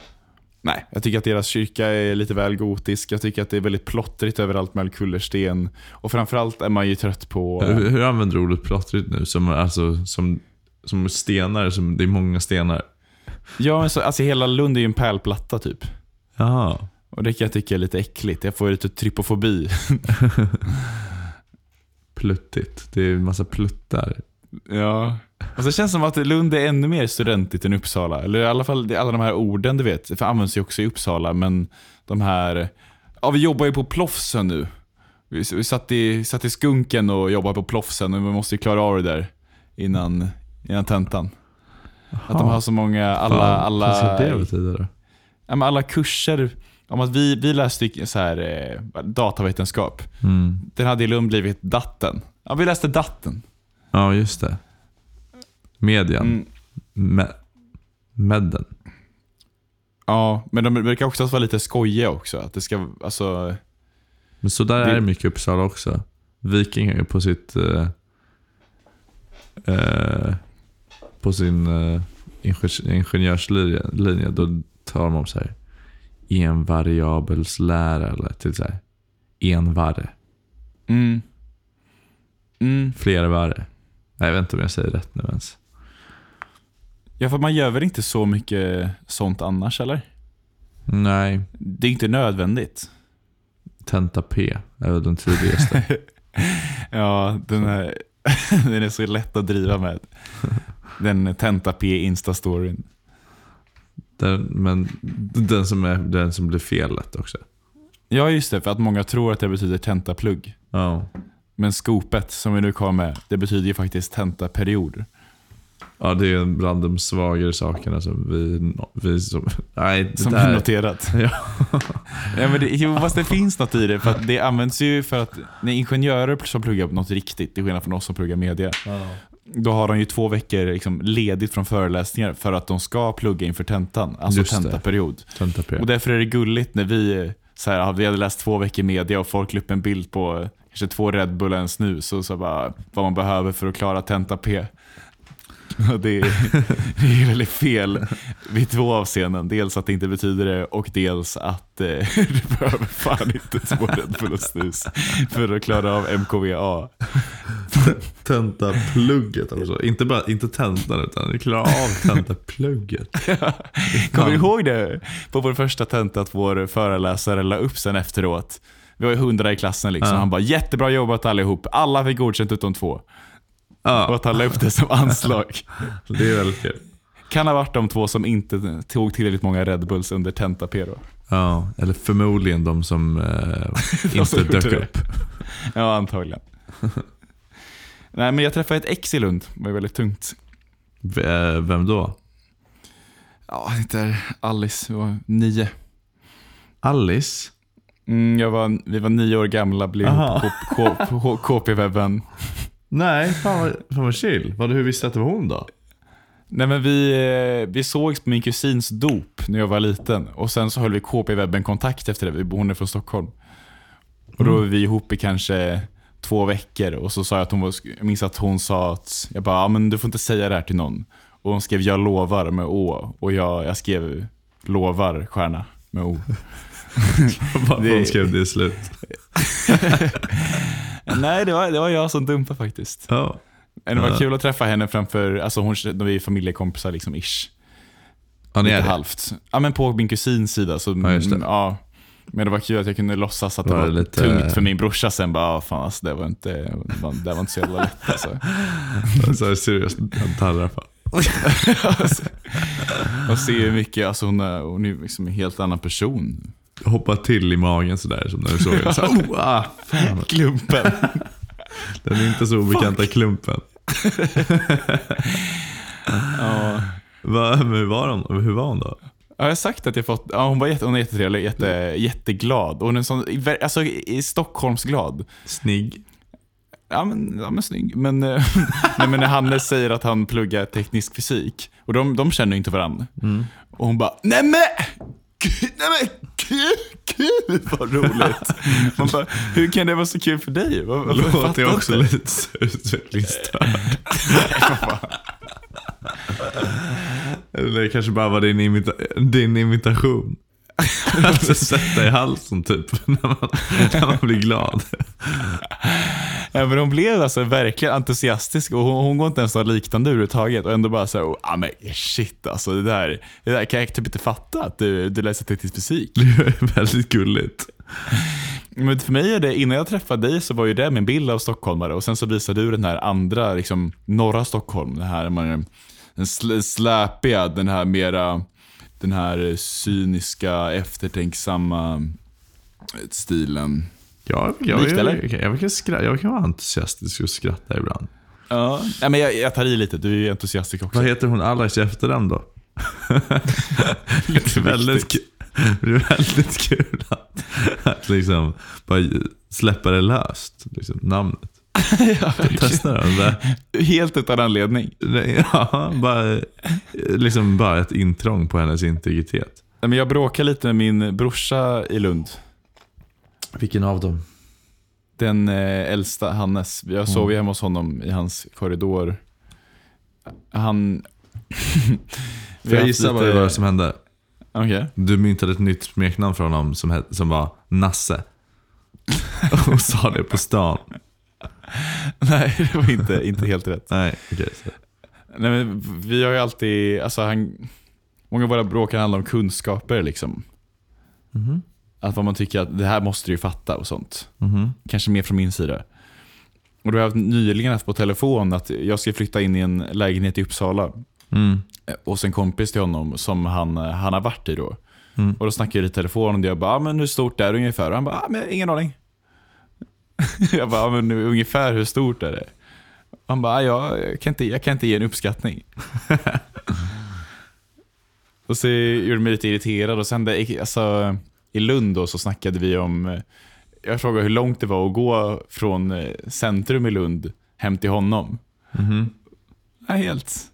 Speaker 3: Nej, jag tycker att deras kyrka är lite väl gotisk. Jag tycker att det är väldigt plottrigt överallt med kullersten. Och framförallt är man ju trött *laughs* på...
Speaker 2: Hur, hur använder du ordet plottrigt nu? Som, alltså, som, som stenar, som, det är många stenar.
Speaker 3: Ja, men så, alltså hela Lund är ju en pärlplatta typ.
Speaker 2: Jaha.
Speaker 3: Och det kan jag tycka är lite äckligt. Jag får ju lite trypofobi.
Speaker 2: Pluttigt. Det är en massa pluttar.
Speaker 3: Ja. Och så känns det som att Lund är ännu mer studentigt än Uppsala. Eller i alla fall det- alla de här orden du vet. För används ju också i Uppsala. Men de här... Ja, vi jobbar ju på Plofsen nu. Vi s- vi satt i, satt i skunken och jobbade på Plofsen. Och vi måste ju klara av det där innan, innan tentan. Att de har så många... Alla,
Speaker 2: Fan, Vad
Speaker 3: alla,
Speaker 2: ska det betyda då?
Speaker 3: ja, men alla kurser. Om att vi, vi läste ju så här, eh, datavetenskap.
Speaker 2: Mm.
Speaker 3: Den hade i Lund blivit datten. Ja, vi läste datten.
Speaker 2: Ja, just det. Median.
Speaker 3: Mm.
Speaker 2: Me- medden.
Speaker 3: Ja, men de brukar också vara lite skojiga också. Att det ska, alltså,
Speaker 2: Men så där
Speaker 3: Det-
Speaker 2: är det mycket i Uppsala också. Viking är ju på sitt... Eh, eh, på sin eh, inge- ingenjörslinje. linje, Då tar de om så här envariabelslära eller till så här envarre,
Speaker 3: mm. Mm.
Speaker 2: flervarre. Nej, jag vet inte om jag säger rätt nu ens.
Speaker 3: Ja, för man gör väl inte så mycket sånt annars, eller?
Speaker 2: Nej,
Speaker 3: Det är inte nödvändigt.
Speaker 2: tenta P är väl den *laughs* tidigaste.
Speaker 3: Ja, den är, *laughs* den är så lätt att driva med. Den tenta P Insta-storyn.
Speaker 2: den, men den som, är, den som blir felet också.
Speaker 3: Ja, just det. För att många tror att det betyder tentaplugg.
Speaker 2: Ja,
Speaker 3: Men skopet som vi nu kom med, det betyder ju faktiskt tentaperiod.
Speaker 2: ja det är bland de svagare sakerna som vi... vi som, *laughs* nej, det
Speaker 3: Som vi
Speaker 2: där,
Speaker 3: noterat.
Speaker 2: *laughs* Ja.
Speaker 3: ja, men det, jo, fast det finns något i det. För att det används ju för att när ingenjörer som pluggar på något riktigt, till skillnad från oss som pluggar media, då har de ju två veckor liksom ledigt från föreläsningar för att de ska plugga inför tentan. Alltså
Speaker 2: Just det.
Speaker 3: tentaperiod.
Speaker 2: Tenta P.
Speaker 3: Och därför är det gulligt när vi, eh, så här, ja, vi hade läst två veckor media och folk la upp en bild på eh, kanske två Red Bull och en snus och så bara, vad man behöver för att klara tenta-P. *laughs* Och Det är, det är väldigt fel vid två avseenden. Dels att det inte betyder det och dels att eh, *laughs* du behöver fan inte två Red Bull och snus för att klara av MKVA.
Speaker 2: Tentaplugget också. Inte, bara, inte tentan utan klara *laughs* av tentaplugget.
Speaker 3: Kommer du
Speaker 2: Ja.
Speaker 3: ihåg det? På vår första tenta att vår föreläsare la upp sen efteråt. Vi var ju hundra i klassen liksom.
Speaker 2: Ja.
Speaker 3: Han bara “Jättebra jobbat allihop. Alla fick godkänt utom två”.
Speaker 2: *laughs*
Speaker 3: Och
Speaker 2: Ja,
Speaker 3: att han la upp det som anslag.
Speaker 2: det är väldigt kul.
Speaker 3: Kan ha varit de två som inte tog tillräckligt många Red Bulls under tenta-P då.
Speaker 2: Ja, eller förmodligen de som
Speaker 3: *laughs*
Speaker 2: eh, inte
Speaker 3: gjorde
Speaker 2: dök
Speaker 3: det.
Speaker 2: upp. *laughs*
Speaker 3: Ja, antagligen. Nej, men jag träffade ett ex i Lund. Det var ju väldigt tungt.
Speaker 2: V- eh, Vem då?
Speaker 3: Ja, han heter Alice. Hon var nio.
Speaker 2: Alice?
Speaker 3: Mm, jag var, vi var nio år gamla, blev
Speaker 2: Aha.
Speaker 3: ihop på K- på H- KP-webben.
Speaker 2: Nej, fan vad, fan vad chill. Vad, hur visste du att det var hon då?
Speaker 3: Nej men vi, eh, vi sågs på min kusins dop när jag var liten. Och sen så höll vi KP-webben kontakt efter det. Vi- Hon är från Stockholm. Och då var vi ihop i kanske två veckor. Och så sa jag att hon var, jag minns att hon sa att, jag bara, "Ja, men du får inte säga det här till någon. Och hon skrev jag lovar med Å. Och jag, jag skrev lovar stjärna med O.
Speaker 2: Varför
Speaker 3: Det-
Speaker 2: hon skrev det i slut?
Speaker 3: *laughs* Nej det var, det var jag som dumpade faktiskt.
Speaker 2: Ja.
Speaker 3: Men det var
Speaker 2: Ja.
Speaker 3: kul att träffa henne framför, alltså hon, de är ju familjekompisar liksom ish.
Speaker 2: Ja, ni
Speaker 3: Lite
Speaker 2: är det.
Speaker 3: halvt. Ja men på min kusins sida. Så,
Speaker 2: Ja, just det.
Speaker 3: mm, ja. Men det var kul att jag kunde låtsas att det
Speaker 2: Var
Speaker 3: var,
Speaker 2: det lite-
Speaker 3: tungt för min brorsa sen. Bara, "Ah, fan, alltså, det, var inte, det var- det var inte så jävla lätt alltså.
Speaker 2: *laughs* Så här, seriöst, han tarrar fan.
Speaker 3: Man ser ju hur mycket, alltså, hon, är, hon är ju liksom en helt annan person. Alltså,
Speaker 2: Hoppa till i magen sådär som när du *laughs* såg den. Så här, oh, ah, fan.
Speaker 3: Klumpen.
Speaker 2: Den är inte så obekanta klumpen.
Speaker 3: *laughs* ja.
Speaker 2: Va, men hur, var hon, hur var hon då?
Speaker 3: Ja, jag har sagt att jag fått, ja, hon, var jätte, hon är jättetrevlig, jätte, jätteglad. Och Hon är en sån, alltså i Stockholmsglad.
Speaker 2: Snygg.
Speaker 3: Ja men, ja, men snygg. Men, eh, *laughs* nej, men när Hannes säger att han pluggar teknisk fysik, och de, de känner ju inte varandra.
Speaker 2: Mm.
Speaker 3: Och hon bara, nej men! Gud, Nej men gud, gud vad roligt. Man bara, hur kan det vara så kul för dig? Vad- vad- jag
Speaker 2: *laughs* Låter
Speaker 3: fattar
Speaker 2: jag också
Speaker 3: inte.
Speaker 2: lite så utvecklingsstörd?
Speaker 3: *laughs*
Speaker 2: Eller det kanske bara var din, imita- din
Speaker 3: *laughs*
Speaker 2: imitation. Att sätta i halsen typ, *laughs* när man, när man blir glad.
Speaker 3: *laughs* Ja, men hon blev alltså verkligen entusiastisk och hon, hon går inte ens något liknande överhuvudtaget. Och ändå bara så här, "Oh, ja men shit alltså det där, det där kan jag typ inte fatta att du, du läser teknisk fysik. *laughs*
Speaker 2: Det är väldigt gulligt.
Speaker 3: Men för mig är det, innan jag träffade dig så var ju det min bild av stockholmare och sen så visade du den här andra, liksom norra Stockholm. Den här, man, den sl- släpiga, den här mera, den här cyniska, eftertänksamma stilen.
Speaker 2: Jag, jag,
Speaker 3: Likt,
Speaker 2: jag,
Speaker 3: eller?
Speaker 2: jag, jag, kan skra- jag kan vara entusiastisk och skratta ibland.
Speaker 3: Ja, nej, men jag, jag tar i lite, du är ju entusiastisk också.
Speaker 2: Vad heter hon Alex i efternamn
Speaker 3: *laughs*
Speaker 2: då? det är *laughs* väldigt kul. Det är väldigt kul att, att liksom bara släppa det löst. Liksom,
Speaker 3: *laughs*
Speaker 2: namnet.
Speaker 3: Ja, verkligen.
Speaker 2: Testa det. Bara,
Speaker 3: *laughs* Helt utan anledning.
Speaker 2: nej, *laughs* ja, bara, liksom bara ett intrång på hennes integritet.
Speaker 3: Nej, men jag bråkade lite med min brorsa i Lund.
Speaker 2: Vilken av dem?
Speaker 3: Den eh, äldsta, Hannes. Jag sov ju hemma hos honom i hans korridor. *laughs* Han... Vi
Speaker 2: För
Speaker 3: har
Speaker 2: jag
Speaker 3: haft
Speaker 2: gissar vad
Speaker 3: lite-
Speaker 2: det var som hände.
Speaker 3: Okej.
Speaker 2: Du myntade ett nytt smeknamn från honom som, het, som var Nasse. *laughs* Och sa det på stan.
Speaker 3: *laughs* Nej, det var inte, inte helt rätt.
Speaker 2: Nej, okej. så.
Speaker 3: Nej, men vi har ju alltid... Alltså han, många av våra bråk handlar om kunskaper. liksom.
Speaker 2: Mhm.
Speaker 3: Att vad man tycker att det här måste du ju fatta och sånt.
Speaker 2: Mhm.
Speaker 3: Kanske mer från min sida. Och då har jag haft- nyligen haft på telefon att jag ska flytta in i en lägenhet i Uppsala.
Speaker 2: Mm.
Speaker 3: och sen eh, kompis till honom som han, eh, han har varit i då.
Speaker 2: Mm.
Speaker 3: Och då snackade jag i telefon och jag bara, ah, men hur stort är det ungefär? Och han bara, ah, men ingen aning. *laughs* jag bara, ah, men ungefär hur stort är det? Han bara, ah, jag, jag, kan inte, jag kan inte ge en uppskattning. *laughs* och så gjorde det mig lite irriterad och sen det, alltså, i Lund då så snackade vi om, eh, jag frågade hur långt det var att gå från eh, centrum i Lund hem till honom.
Speaker 2: Mhm.
Speaker 3: Nej, helt.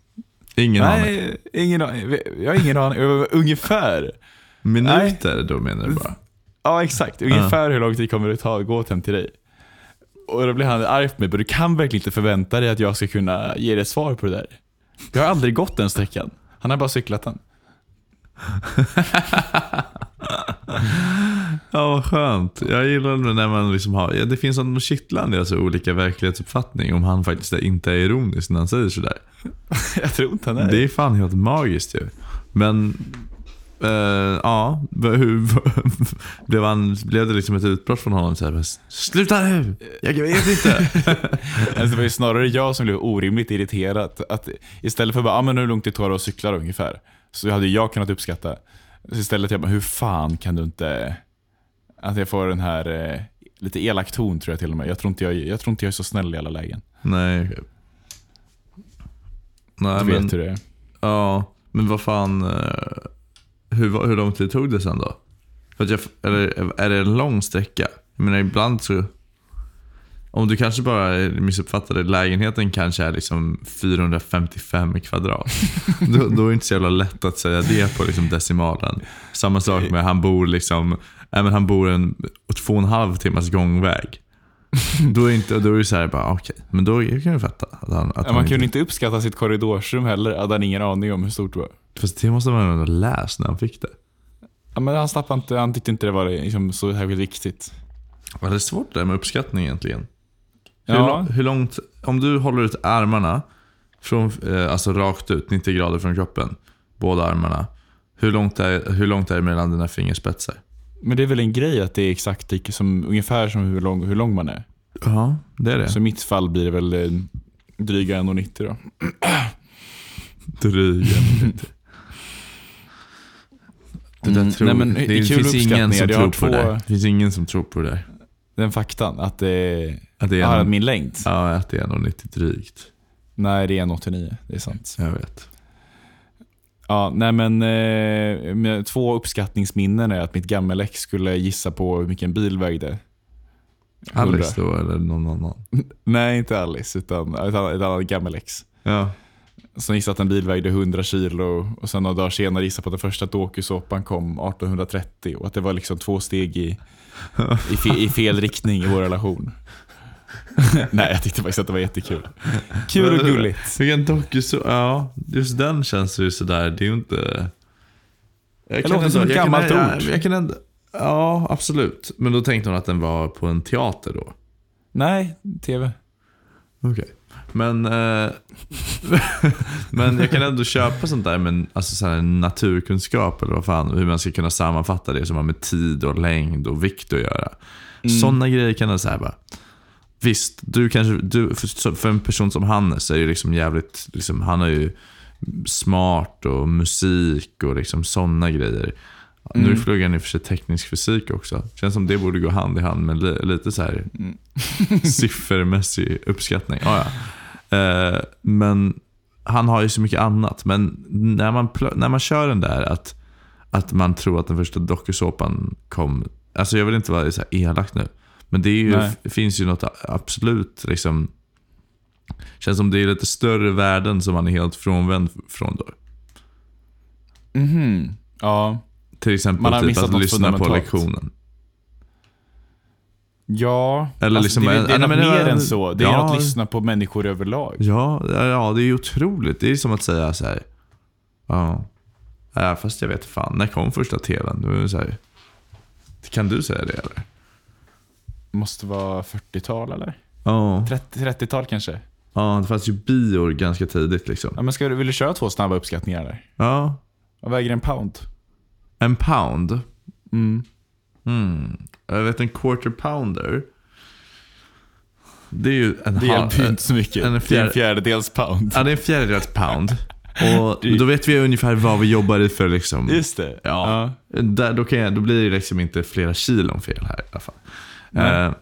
Speaker 2: Ingen aning.
Speaker 3: Nej, ingen aning. Jag har ingen aning. *laughs* Ungefär.
Speaker 2: Minuter då menar du bara?
Speaker 3: Ja, exakt. Ungefär hur lång tid kommer det ta att gå hem till dig? Och då blir han arg på mig. "Men Du kan verkligen inte förvänta dig att jag ska kunna ge dig ett svar på det där. Jag har aldrig gått den sträckan. Han har bara cyklat den. *laughs*
Speaker 2: Ja, vad skönt. Jag gillar det när man liksom har... Ja, det finns något kittlande i alltså, olika verklighetsuppfattning om han faktiskt inte är ironisk när han säger sådär.
Speaker 3: Jag tror inte han är
Speaker 2: Det är fan helt magiskt ju. Men... eh, ja, v- hur, *laughs* blev, han, blev det liksom ett utbrott från honom? Så här, Sluta nu! Jag vet inte.
Speaker 3: *laughs* Alltså, det var ju snarare jag som blev orimligt irriterad. Att istället för bara, ah, men hur långt det tar att cykla då, ungefär. Så hade jag kunnat uppskatta. Så istället jag bara, hur fan kan du inte... Att jag får den här eh, lite elak ton tror jag till och med. Jag tror inte jag, jag, tror inte jag är så snäll i alla lägen.
Speaker 2: Nej, okej. Nej,
Speaker 3: du vet
Speaker 2: men...
Speaker 3: hur det är.
Speaker 2: Ja, men vad fan... eh, hur, hur lång tid tog det sen då? För att jag, eller är det en lång sträcka? Jag menar ibland så... Om du kanske bara missuppfattade, lägenheten kanske är liksom 455
Speaker 3: *laughs*
Speaker 2: kvadrat. då, då är det inte så jävla lätt att säga det på liksom decimalen. Samma sak med han bor liksom, nej, men han bor en två och en halv timmas gångväg. Då är, inte, då är det så här, bara okej, men då kan jag fatta att han... Att
Speaker 3: Ja,
Speaker 2: han
Speaker 3: man kunde inte uppskatta sitt korridorsrum heller. Han hade ingen aning om hur stort det var.
Speaker 2: Fast det måste man ha läst när han fick det.
Speaker 3: Ja, men han snappade inte, han tyckte inte det var liksom, så särskilt viktigt.
Speaker 2: Var det svårt det där med uppskattning egentligen? Hur,
Speaker 3: Ja.
Speaker 2: lång- hur långt, om du håller ut armarna, från, eh, alltså rakt ut, 90 grader från kroppen, båda armarna. Hur långt är, hur långt är det mellan dina fingerspetsar?
Speaker 3: Men det är väl en grej att det är exakt lika som, ungefär som hur lång, hur lång man är.
Speaker 2: Ja, det är det.
Speaker 3: Så i mitt fall blir det väl eh, dryga 1,90 då.
Speaker 2: Drygen. *laughs* Det, där
Speaker 3: Mm,
Speaker 2: tror,
Speaker 3: nej, men
Speaker 2: det,
Speaker 3: det är kul
Speaker 2: finns ingen som
Speaker 3: uppskattningar. Jag
Speaker 2: tror
Speaker 3: har
Speaker 2: på det
Speaker 3: två-
Speaker 2: där. Det finns ingen som tror på det där.
Speaker 3: Den faktan, att det
Speaker 2: Att det
Speaker 3: är
Speaker 2: är,
Speaker 3: ah,
Speaker 2: en,
Speaker 3: min längd.
Speaker 2: ja, att det är 1,90 drygt.
Speaker 3: Nej, det är 1,89. Det är sant.
Speaker 2: Jag vet.
Speaker 3: Ja, nej men, eh, med två uppskattningsminnen är att mitt gammelex skulle gissa på hur mycket en bil vägde. 100.
Speaker 2: Alex då, eller någon annan.
Speaker 3: Nej, inte Alice, utan ett annat, ett annat gammelex.
Speaker 2: Ja.
Speaker 3: Som gissade att en bil vägde 100 kilo och sen några dagar senare gissade på att den första dokusåpan kom 1830 och att det var liksom två steg i, i, fe, i fel riktning i vår relation. *laughs* Nej, jag tyckte faktiskt att det var jättekul. Kul och gulligt.
Speaker 2: Vilken dokuså... Ja, just den känns ju sådär. Det är ju inte... Jag
Speaker 3: låter som ett
Speaker 2: jag
Speaker 3: gammalt
Speaker 2: kan, Jag,
Speaker 3: ord.
Speaker 2: jag kan ändå, ja, absolut. Men då tänkte hon att den var på en teater då.
Speaker 3: Nej, tv.
Speaker 2: Okej. Men, eh, *laughs* men jag kan ändå köpa sånt där med alltså så här naturkunskap eller vad fan. Hur man ska kunna sammanfatta det som har med tid och längd och vikt att göra. Sådana grejer kan jag säga bara. Visst, du kanske, du, för, för en person som Hannes är ju liksom jävligt, liksom, han är ju smart och musik och liksom sådana grejer. Nu
Speaker 3: Mm.
Speaker 2: pluggar han i och för sig teknisk fysik också. Känns som det borde gå hand i hand med li, lite så här
Speaker 3: Mm.
Speaker 2: *laughs* siffermässig uppskattning. Ah, ja. eh, men han har ju så mycket annat. Men när man, plö- när man kör den där att, att man tror att den första dokusåpan kom. Alltså jag vill inte vara så här elak nu. Men det är ju,
Speaker 3: Nej.
Speaker 2: f- finns ju något a- absolut liksom. Känns som det är lite större värden som man är helt frånvänd från då.
Speaker 3: Mhm. Ja.
Speaker 2: Till exempel
Speaker 3: Man har
Speaker 2: typ
Speaker 3: missat
Speaker 2: att
Speaker 3: något
Speaker 2: lyssna på
Speaker 3: fundamentalt.
Speaker 2: lektionen.
Speaker 3: Ja,
Speaker 2: Eller
Speaker 3: alltså,
Speaker 2: liksom
Speaker 3: det,
Speaker 2: en-
Speaker 3: det
Speaker 2: nej,
Speaker 3: är något
Speaker 2: men det
Speaker 3: mer
Speaker 2: var-
Speaker 3: än så. Det är
Speaker 2: Ja.
Speaker 3: att lyssna på människor överlag.
Speaker 2: Ja, ja, det är ju otroligt. Det är som att säga så här. Ja. ja fast jag vet fan, när kom första tvn? Då är det så här, kan du säga det eller?
Speaker 3: Måste vara 40-tal eller?
Speaker 2: Ja,
Speaker 3: 30, 30-tal kanske?
Speaker 2: ja det fanns ju bior ganska tidigt liksom.
Speaker 3: Ja, men ska du, vill du köra två snabba uppskattningar där?
Speaker 2: Ja,
Speaker 3: Vad väger en pound?
Speaker 2: en pound. Mm. Jag vet en quarter pounder. Det är ju en
Speaker 3: Det
Speaker 2: halv.
Speaker 3: hjälper ju inte så mycket.
Speaker 2: en
Speaker 3: Det är
Speaker 2: fjär-
Speaker 3: en fjärdedels pound.
Speaker 2: Ja, det är en fjärdedels pound. Och då vet vi ungefär vad vi jobbar i för liksom.
Speaker 3: Just det.
Speaker 2: Ja. Där, då, kan jag, då blir det liksom inte flera kilon fel här i alla fall. Eh,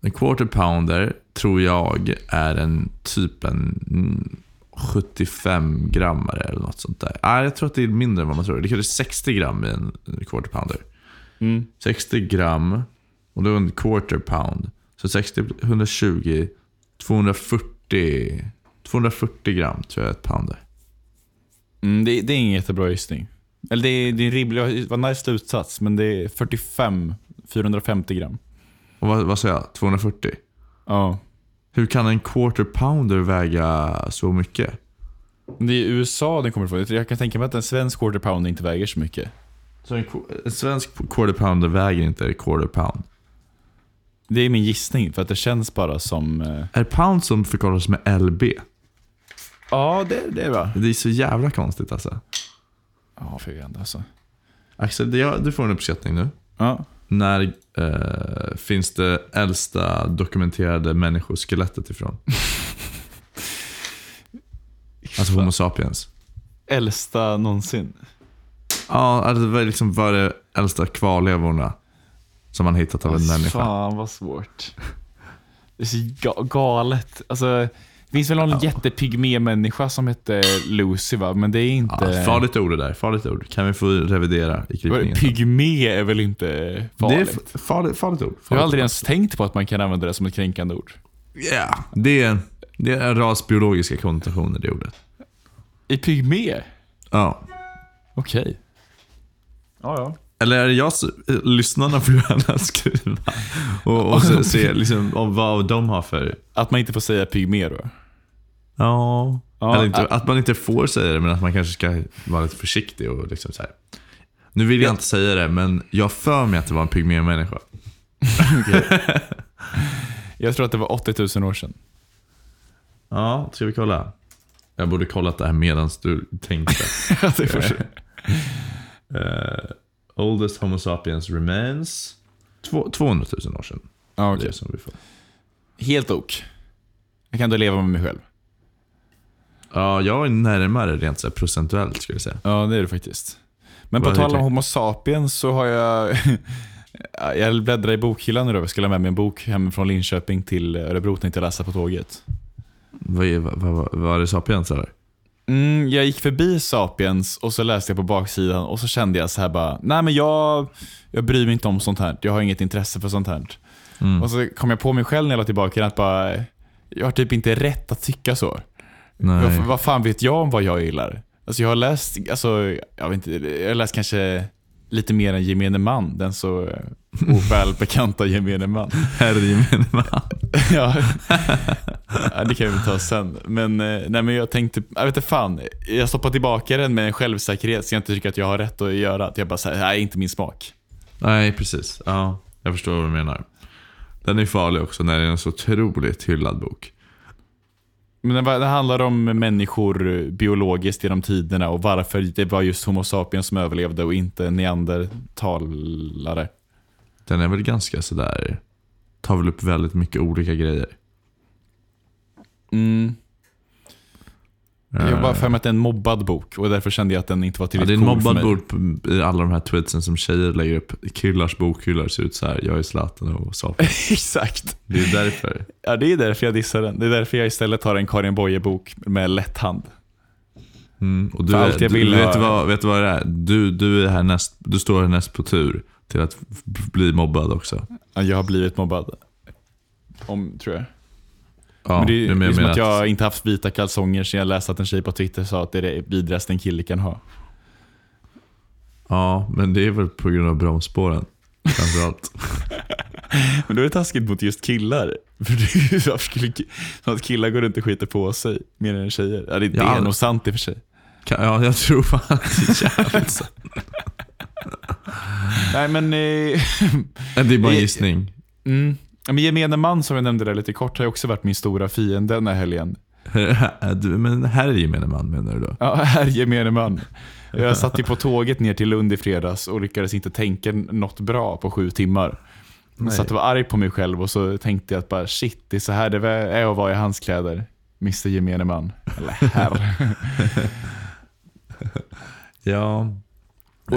Speaker 2: en quarter pounder tror jag är en typ en mm, 75 grammare eller något sånt där. Nej, jag tror att det är mindre än vad man tror. Det kanske är 60 gram i en en quarter pounder. 60 gram och då en quarter pound. Så 60, 120, 240, 240 gram tror jag är ett pound är.
Speaker 3: Mm, det, det är ingen jättebra gissning. Eller det är, det är en rimlig, vad nice slutsats, men det är 45, 450 gram.
Speaker 2: Och vad, vad sa jag? 240?
Speaker 3: Ja.
Speaker 2: Hur kan en quarter pounder väga så mycket?
Speaker 3: Men Det är USA den kommer ifrån. Jag kan tänka mig att en svensk quarter pound inte väger så mycket.
Speaker 2: Så en, qu- en svensk quarter pounder väger inte quarter pound.
Speaker 3: Det är min gissning, för att det känns bara som... eh,
Speaker 2: Är pound som förkortas med LB?
Speaker 3: Ja, det, det är bra.
Speaker 2: Det är så jävla konstigt alltså.
Speaker 3: Ja, för fan, alltså.
Speaker 2: Axel, det- jag- du får en uppskattning nu.
Speaker 3: Ja.
Speaker 2: När eh, finns det äldsta dokumenterade människoskelettet *laughs* ifrån? alltså Homo sapiens.
Speaker 3: Äldsta någonsin.
Speaker 2: Ja, alltså det var liksom var det äldsta kvarlevorna som man hittat av en människa.
Speaker 3: Fan vad svårt. Det är så ga- galet. Alltså, Det finns väl någon jättepygmé-människa som hette Lucy va? Men det är inte...
Speaker 2: Ja, farligt ord det där. Farligt ord. Kan vi få revidera i krypningen?
Speaker 3: Pygmé är väl inte farligt?
Speaker 2: Det är f- farligt, farligt ord.
Speaker 3: jag har
Speaker 2: Farligt
Speaker 3: aldrig
Speaker 2: ord.
Speaker 3: ens tänkt på att man kan använda det som ett kränkande ord.
Speaker 2: Ja, Det, är, det är rasbiologiska konnotationer det ordet.
Speaker 3: I pygmé?
Speaker 2: Ja.
Speaker 3: Okej. Ja, ja.
Speaker 2: Eller är det jag s- Lyssnarna får gärna *laughs* skriva. Och, och se, se liksom, om vad de har för...
Speaker 3: Att man inte får säga pygmé då?
Speaker 2: Ja.
Speaker 3: Ja,
Speaker 2: Eller inte,
Speaker 3: ä-
Speaker 2: att man inte får säga det, men att man kanske ska vara lite försiktig och liksom så här. Nu vill jag inte säga det, men jag har för mig att det var en pygmé-människa.
Speaker 3: Jag tror att det var 80 000
Speaker 2: *laughs*
Speaker 3: år sedan.
Speaker 2: Ja, ska vi kolla? Jag borde kollat det här medan du tänkte.
Speaker 3: Ja, det får se.
Speaker 2: Eh, oldest Homo sapiens remains. Två, 200 000 år sedan.
Speaker 3: Ja,
Speaker 2: Det är
Speaker 3: okej.
Speaker 2: som vi får.
Speaker 3: Helt ok. Jag kan då leva med mig själv.
Speaker 2: Ja, jag är närmare rent så här procentuellt skulle jag säga.
Speaker 3: Ja, det är det faktiskt. Men
Speaker 2: Vad
Speaker 3: på
Speaker 2: är
Speaker 3: tal om
Speaker 2: det?
Speaker 3: Homo sapiens så har jag... *laughs* jag bläddrar i bokhyllan nu då. Jag skulle ha med mig en bok hemifrån Linköping till Örebro tänkte jag läsa på tåget.
Speaker 2: Vad är, vad, vad, vad, vad är det sapiens eller?
Speaker 3: Mm, jag gick förbi Sapiens och så läste jag på baksidan och så kände jag så här bara, nej men jag, jag bryr mig inte om sånt här. Jag har inget intresse för sånt här.
Speaker 2: Mm.
Speaker 3: Och så kom jag på mig själv när jag la tillbaka den att bara, jag har typ inte rätt att tycka så. Vad,
Speaker 2: *laughs* Nej.
Speaker 3: vad fan vet jag om vad jag gillar? Alltså jag har läst, alltså, jag vet inte, jag har läst kanske lite mer än gemene man. Den så eh, ovälbekanta gemene man.
Speaker 2: Herre gemene man.
Speaker 3: ja. ja, det kan vi ta sen. Men, eh, nej, men jag tänkte, jag vet inte fan. Jag stoppar tillbaka den med en självsäkerhet så jag inte tycker att jag har rätt att göra. Att jag bara säger, nej inte min smak.
Speaker 2: Nej, precis. Ja, jag förstår vad du menar. Den är farlig också när det är en så otroligt hyllad bok.
Speaker 3: Men det, var- det handlar om människor eh, biologiskt genom tiderna och varför det var just Homo sapiens som överlevde och inte neandertalare.
Speaker 2: Den är väl ganska sådär... Tar väl upp väldigt mycket olika grejer.
Speaker 3: Mm. Jag
Speaker 2: Eh,
Speaker 3: har bara för mig att det är en mobbad bok och därför kände jag att den inte var
Speaker 2: Ja, det är
Speaker 3: tillräckligt
Speaker 2: en
Speaker 3: cool för
Speaker 2: mobbad
Speaker 3: mig.
Speaker 2: bok på- i alla de här tweetsen som tjejer lägger upp. Killars bokhyllar ser ut så här. Jag är Zlatan och Sapiens.
Speaker 3: *laughs* Exakt.
Speaker 2: Det är därför.
Speaker 3: Ja, det är därför jag dissar den. Det är därför jag istället har en Karin Boye-bok med lätt hand.
Speaker 2: Mm. Och du,
Speaker 3: För
Speaker 2: är-
Speaker 3: allt jag
Speaker 2: du
Speaker 3: vill
Speaker 2: vet,
Speaker 3: ha-
Speaker 2: vad, vet du vad det är? Du, du, är här näst, du står här näst på tur till att f- bli mobbad också.
Speaker 3: Ja, jag har blivit mobbad. Om, tror jag.
Speaker 2: Ja,
Speaker 3: men det är,
Speaker 2: men
Speaker 3: det är
Speaker 2: jag
Speaker 3: som
Speaker 2: menar
Speaker 3: att jag inte haft vita kalsonger sen jag läste att en tjej på Twitter sa att det är det vidrigaste en kille kan ha.
Speaker 2: Ja, men det är väl på grund av bromsspåren. Framförallt.
Speaker 3: Men då är det taskigt mot just killar. *laughs* För det är ju- varför skulle ki- som att killar går runt och skiter på sig mer än tjejer. Ja, det, det
Speaker 2: Ja.
Speaker 3: är nog sant i och för sig.
Speaker 2: *laughs* Ka- ja, jag tror fan att det är jävligt sant.
Speaker 3: Nej men, eh,
Speaker 2: *laughs* Det är bara en
Speaker 3: Det-
Speaker 2: gissning.
Speaker 3: mm. Ja, men gemene man som jag nämnde där lite kort har ju också varit min stora fiende den här helgen.
Speaker 2: *laughs*
Speaker 3: *laughs*
Speaker 2: Du- Men här är gemene man menar du då?
Speaker 3: Ja, här gemene man. Jag satt ju på tåget ner till Lund i fredags och lyckades inte tänka något bra på sju timmar. Jag
Speaker 2: Nej.
Speaker 3: satt och var arg på mig själv och så tänkte jag att bara shit, det är så här det är att vara i hans kläder. Mr gemene man. Eller herr.
Speaker 2: Ja.
Speaker 3: Och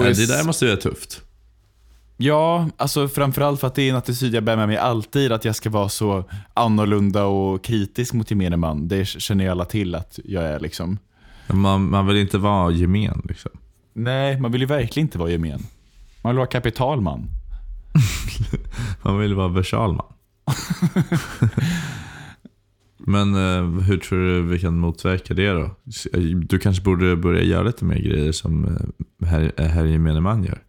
Speaker 2: Ja,
Speaker 3: jag
Speaker 2: det
Speaker 3: s-
Speaker 2: där måste ju vara tufft.
Speaker 3: ja, alltså framförallt för att det är en attityd jag bär med mig alltid, att jag ska vara så annorlunda och kritisk mot gemene man. Det känner ju alla till att jag är liksom.
Speaker 2: Man, man vill inte vara gemen liksom.
Speaker 3: Nej, man vill ju verkligen inte vara gemen. Man vill vara kapitalman.
Speaker 2: Man vill vara
Speaker 3: *laughs*
Speaker 2: Versalman. Men eh, hur tror du vi kan motverka det då? Du kanske borde börja göra lite mer grejer som eh, herr herr gemene man gör?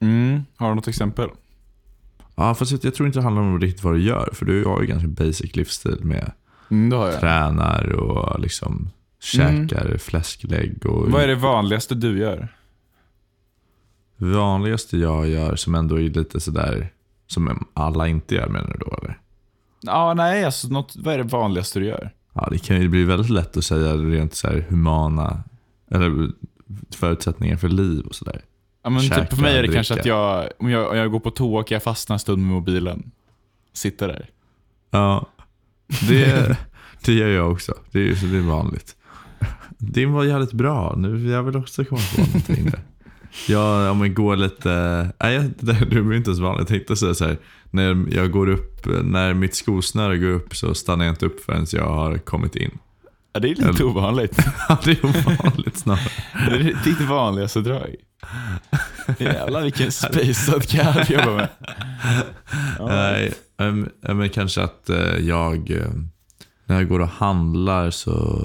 Speaker 3: Mm. Har du något exempel?
Speaker 2: Ja, fast jag tror inte det handlar om riktigt vad du gör. För du har ju ganska basic livsstil med
Speaker 3: Mm, det har jag.
Speaker 2: tränar och liksom
Speaker 3: Mm.
Speaker 2: käkar fläsklägg. Och
Speaker 3: Vad är det vanligaste du gör?
Speaker 2: vanligaste jag gör som ändå är lite sådär som alla inte gör menar du då eller?
Speaker 3: Ja, nej, alltså något, vad är det vanligaste du gör?
Speaker 2: Ja, det kan ju bli väldigt lätt att säga rent så här humana eller förutsättningar för liv och sådär.
Speaker 3: Ja, men typ
Speaker 2: Käka,
Speaker 3: för mig är det
Speaker 2: dricka.
Speaker 3: kanske att jag om, jag, om jag går på toa och jag fastnar en stund med mobilen. Sitter där.
Speaker 2: Ja, det, det gör jag också. Det är ju så det är vanligt. Din var jävligt bra. Nu, jag vill också komma på någonting där. Ja, om jag går lite... Nej, jag- det där- du behöver inte ens vara Jag tänkte säga så här. När jag går upp, när mitt skosnöre går upp så stannar jag inte upp förrän jag har kommit in. *laughs*
Speaker 3: Ja, det är lite
Speaker 2: Eller-
Speaker 3: *laughs* ovanligt.
Speaker 2: det är ovanligt snarare.
Speaker 3: Det är ditt vanligaste drag. Jävlar vilken spejsad karl jag *laughs* jobbar med.
Speaker 2: Nej, ehm, ja, men kanske att eh, jag... eh, När jag går och handlar så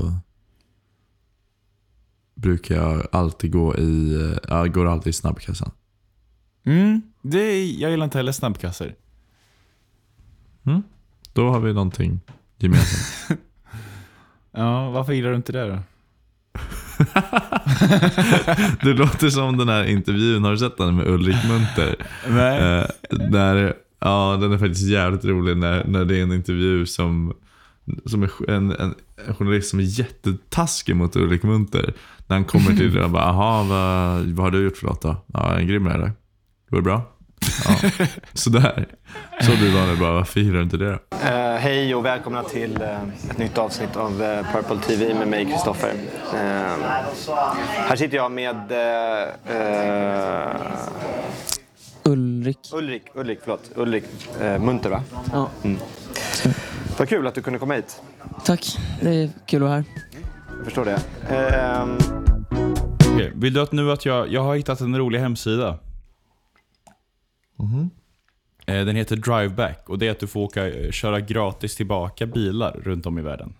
Speaker 2: brukar jag alltid gå i... eh, Jag går alltid i snabbkassan.
Speaker 3: Mm, det är, jag gillar inte heller snabbkassor.
Speaker 2: Då har vi någonting gemensamt.
Speaker 3: Ja, varför gillar du inte det då?
Speaker 2: *laughs* Det låter som den här intervjun, har du sett den med Ulrik Munter?
Speaker 3: Nej.
Speaker 2: Eh, när, ja, den är faktiskt jävligt rolig när, när det är en intervju som, som är en, en, en journalist som är jättetaskig mot Ulrik Munter. När han kommer till det och bara, aha, vad, vad har du gjort för något då? Ja, jag är en grym lärare. Går det bra? Ja, sådär. Så du Daniel bara, varför gillar du inte det då?
Speaker 4: Eh, hej och välkomna till eh, ett nytt avsnitt av eh, Purple TV med mig, Kristoffer. Eh, här sitter jag med eh, eh,
Speaker 5: Ulrik.
Speaker 4: Ulrik, Ulrik, förlåt, Ulrik eh, Munter, va? Mm.
Speaker 5: Ja,
Speaker 4: Vad kul att du kunde komma hit.
Speaker 5: tack. Det är kul att vara här.
Speaker 4: Jag förstår det. Eh,
Speaker 3: Okej, Vill du att nu att jag, jag har hittat en rolig hemsida. Eh, Den heter Driveback och det är att du får åka, eh, köra gratis tillbaka bilar runt om i världen.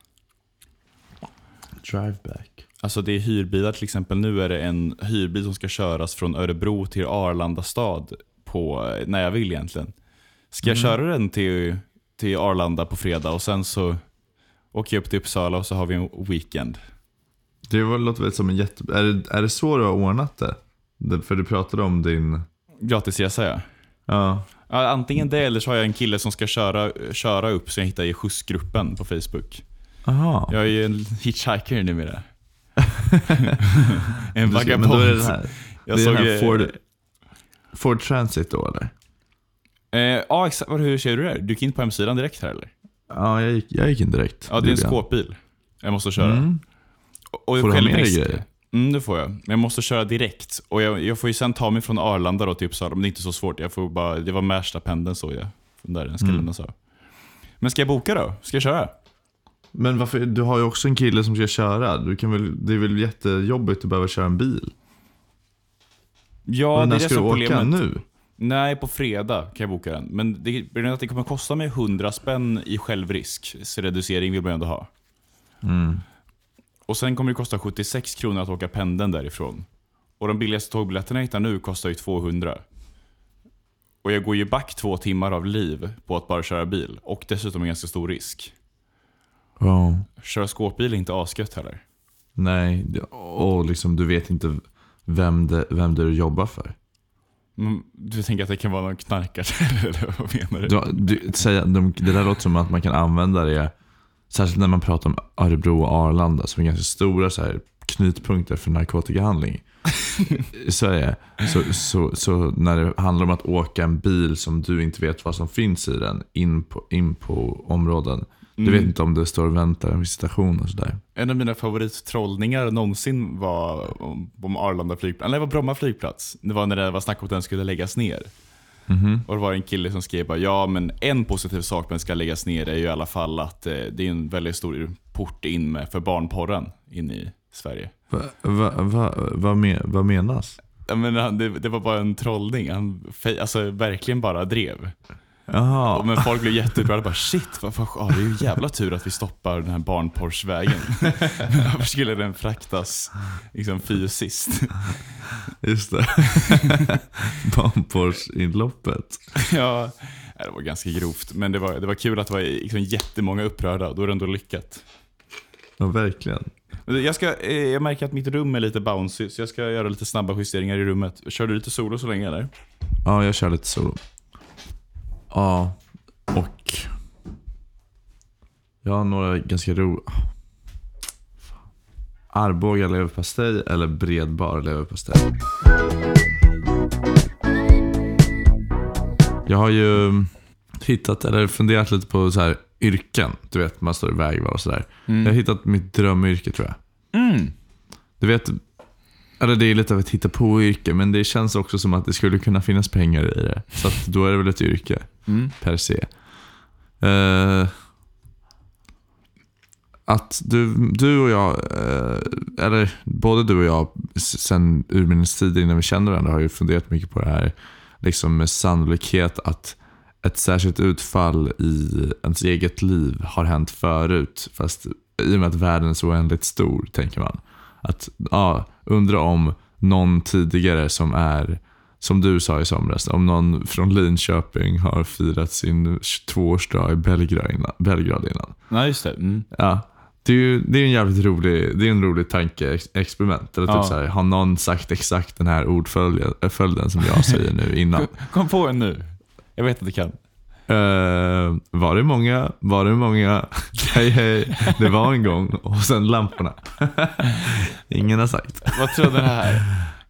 Speaker 2: Driveback.
Speaker 3: Alltså det är hyrbilar till exempel. Nu är det en hyrbil som ska köras från Örebro till Arlanda stad på, eh, när jag vill egentligen. Ska jag köra den till, till Arlanda på fredag och sen så åker jag upp till Uppsala och så har vi en weekend.
Speaker 2: Det var- låter väl som en jätte... Är det, är det så du har ordnat det? det? För du pratade om din...
Speaker 3: Gratisresa ja.
Speaker 2: Ja.
Speaker 3: Ja, antingen det eller så har jag en kille som ska köra, köra upp som jag hittar i skjutsgruppen på Facebook.
Speaker 2: Aha.
Speaker 3: Jag är ju en hitchhiker numera. en
Speaker 2: Du ser- men då är det den
Speaker 3: vagabond.
Speaker 2: här.
Speaker 3: Jag
Speaker 2: det är
Speaker 3: såg...
Speaker 2: den här
Speaker 3: eh,
Speaker 2: Ford, Ford Transit då eller?
Speaker 3: Eh, ja, exakt. Vad- Hur ser du det? här? Du gick in på hemsidan direkt här eller?
Speaker 2: Ja, jag gick, jag gick in direkt.
Speaker 3: Ja, det är en
Speaker 2: gjorde jag.
Speaker 3: skåpbil. Jag måste köra.
Speaker 2: Mm.
Speaker 3: Och jag
Speaker 2: Får du ha med dig
Speaker 3: självrisk-
Speaker 2: grejer?
Speaker 3: Mm, det får jag. Men jag måste köra direkt. Och jag, jag får ju sen ta mig från Arlanda då till Uppsala, men det är inte så svårt. Jag får bara, det var Märstapendeln såg jag. Från Där den ska
Speaker 2: Mm.
Speaker 3: lämnas av. Men ska jag boka då? Ska jag köra?
Speaker 2: Men varför, du har ju också en kille som ska köra. Du kan väl, det är väl jättejobbigt att behöva köra en bil? Men
Speaker 3: Ja, det
Speaker 2: när
Speaker 3: är det
Speaker 2: ska
Speaker 3: som
Speaker 2: du
Speaker 3: är
Speaker 2: åka
Speaker 3: problemet.
Speaker 2: nu?
Speaker 3: Nej, på fredag kan jag boka den. Men det, redan att det kommer kosta mig 100 spänn i självrisk, så reducering vill man ju ändå ha. Och sen kommer det kosta 76 kronor att åka pendeln därifrån. Och de billigaste tågbiljetterna jag hittar nu kostar ju 200. Och jag går ju back två timmar av liv på att bara köra bil. Och dessutom en ganska stor risk.
Speaker 2: Ja.
Speaker 3: Köra skåpbil är inte asgött heller.
Speaker 2: Nej, det- och liksom du vet inte vem, det, vem det är du jobbar för.
Speaker 3: Men Mm, du tänker att det kan vara någon knarkare *laughs* eller vad menar du?
Speaker 2: Du, du, säga, de, det där låter som att man kan använda det, särskilt när man pratar om Örebro och Arlanda som är ganska stora så här, knutpunkter för *laughs* narkotikahandling i Sverige. Så, så, så när det handlar om att åka en bil som du inte vet vad som finns i den in på, in på områden. Du vet inte om det står och väntar en visitation och sådär.
Speaker 3: En av mina favorittrollningar någonsin var om- om Arlanda flygplats, eller det var Bromma flygplats. Det var när det var snack om att den skulle läggas ner. Och det var en kille som skrev bara, ja men en positiv sak med att ska läggas ner är ju i alla fall att eh, det är en väldigt stor port in med för barnporren in i Sverige.
Speaker 2: Va, va, va, vad me, vad menas?
Speaker 3: Jag menar, han- det, det var bara en trollning, han fej- alltså, verkligen bara drev.
Speaker 2: Jaha.
Speaker 3: Och Men folk blev jätteupprörda bara shit, vad, vad, ja, det är ju jävla tur att vi stoppar den här barnporrsvägen. *laughs* Varför skulle den fraktas liksom, fysiskt? *laughs*
Speaker 2: Just *laughs* det. Barnporrsinloppet.
Speaker 3: Ja, nej, det var ganska grovt. Men det var, det var kul att det var liksom jättemånga upprörda. Då är det ändå lyckat.
Speaker 2: Ja, verkligen.
Speaker 3: Men Jag, ska, eh, jag märker att mitt rum är lite bouncy, så jag ska göra lite snabba justeringar i rummet. Kör du lite solo så länge eller?
Speaker 2: Ja, jag kör lite solo. Ja, och... Jag har några ganska ro... Fan. Arboga leverpastej eller Bredbar leverpastej. Jag har ju hittat, eller funderat lite på så här yrken. Du vet, man står i vägval och sådär. Jag har hittat mitt drömyrke tror jag. Du vet, Eller det är lite av ett hitta på yrke men det känns också som att det skulle kunna finnas pengar i det. Så att då är det väl ett yrke
Speaker 3: Mm.
Speaker 2: per se. Eh, att du, du och jag, eh, eller både du och jag s- sen urminnes tider innan vi känner varandra har ju funderat mycket på det här liksom med sannolikhet att ett särskilt utfall i ens eget liv har hänt förut. Fast i och med att världen är så oändligt stor tänker man. Att ja, undra om någon tidigare som är som du sa i somras, om någon från Linköping har firat sin 22-årsdag i Belgrad innan. Belgrad innan.
Speaker 3: Nej, just det. Mm.
Speaker 2: Ja, det är ju det är en jävligt rolig, det är en rolig tankeexperiment. Eller typ
Speaker 3: Ja.
Speaker 2: så här, har någon sagt exakt den här ordföljden äh, följden som jag säger nu innan?
Speaker 3: Kom, kom på en nu. Jag vet att du kan.
Speaker 2: Eh, var det många? Var det många? *laughs* hej hej, det var en gång. Och sen lamporna. *laughs* Ingen har sagt.
Speaker 3: Vad tror du det *laughs* här?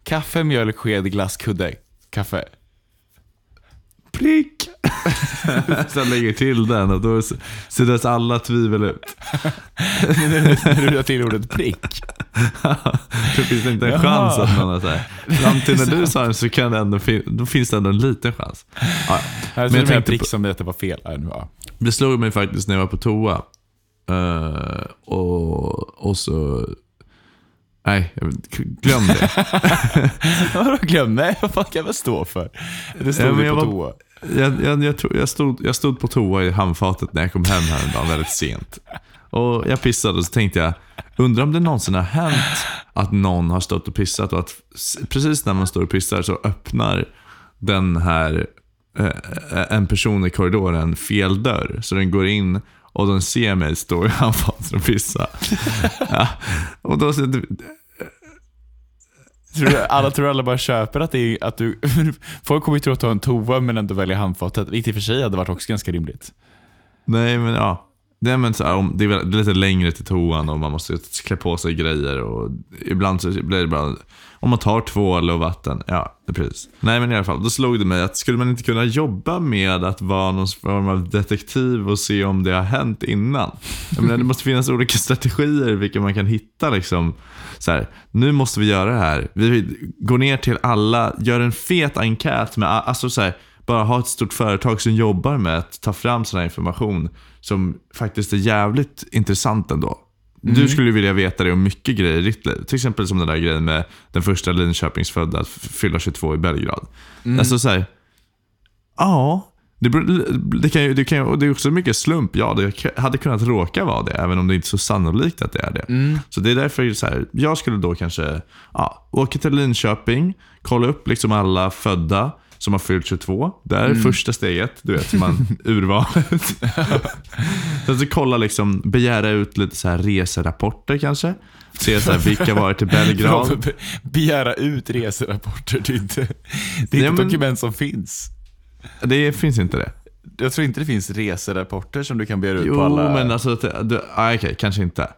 Speaker 3: Kaffe, mjölk, sked, glass, kudde. *laughs* Kaffe.
Speaker 2: Prick! *laughs* sen lägger till den och då s- suddas alla tvivel ut.
Speaker 3: Nu la till ordet prick.
Speaker 2: Då finns det inte en
Speaker 3: Jaha.
Speaker 2: chans att någon har så här. Fram till när du sa den så kan det ändå fin- då finns det ändå en liten chans. Ja,
Speaker 3: Jag
Speaker 2: Men jag
Speaker 3: tror det var
Speaker 2: tänkte
Speaker 3: prick
Speaker 2: på-
Speaker 3: som detta var fel. Ja, nu, *laughs* ja.
Speaker 2: Det slog mig faktiskt när jag var på toa. Eh, och, och så... Nej, jag vet- glöm det.
Speaker 3: Vadå glöm? Nej, vad fan kan jag stå för? Det
Speaker 2: Ja,
Speaker 3: stod
Speaker 2: men
Speaker 3: ju
Speaker 2: jag
Speaker 3: på
Speaker 2: var-
Speaker 3: toa.
Speaker 2: Jag, jag, jag, tror- jag, stod, jag stod på toa i handfatet när jag kom hem häromdagen väldigt sent. Och Jag pissade och så tänkte jag, undrar om det någonsin har hänt att någon har stått och pissat och att s- precis när man står och pissar så öppnar den här eh, en person i korridoren fel dörr. Så den går in och den ser mig stå i handfatet och pissa. Ja, och då, så-
Speaker 3: Tror du, alla tror alla bara köper att, det är, att du... *laughs* Folk kommer ju tro att du har en toa men ändå väljer handfatet. Vilket i och för sig hade varit också ganska rimligt.
Speaker 2: Nej, men ja. Det är, men så här, om, det är väl lite längre till toan och man måste klä på sig grejer. Och ibland så blir det bara... Om man tar tvål och vatten. Ja, precis. Nej, men i alla fall. Då slog det mig att skulle man inte kunna jobba med att vara någon form av detektiv och se om det har hänt innan? Jag menar, det måste finnas olika strategier vilka man kan hitta. Liksom, så här, nu måste vi göra det här. Vi går ner till alla, gör en fet enkät med... Alltså, så här, bara ha ett stort företag som jobbar med att ta fram sån här information som faktiskt är jävligt intressant ändå. Du skulle ju vilja veta det om mycket grejer i ditt liv. Till exempel som den där grejen med den första Linköpingsfödda att f- fylla 22 i Belgrad. Alltså så här, ja. Det, beror- det, kan ju, det, kan ju, och det är också mycket slump. Ja, det k- hade kunnat råka vara det, även om det inte är så sannolikt att det är det. Så det är därför det är så här, jag skulle då kanske ja, åka till Linköping, kolla upp liksom alla födda som har fyllt 22. Där är första steget, du vet, *laughs* man urvalet. Sen så kolla liksom, begära ut lite så här reserapporter kanske. Se så här, vilka var *laughs* till
Speaker 3: *laughs*
Speaker 2: Belgrad.
Speaker 3: Be- Begära ut reserapporter. Det är inte, det är
Speaker 2: Nej,
Speaker 3: inte
Speaker 2: men-
Speaker 3: ett dokument som finns.
Speaker 2: Det finns inte det.
Speaker 3: Jag tror inte det finns reserapporter som du kan begära ut
Speaker 2: Jo,
Speaker 3: på alla...
Speaker 2: men alltså, att det- du, ah, okej, kanske inte.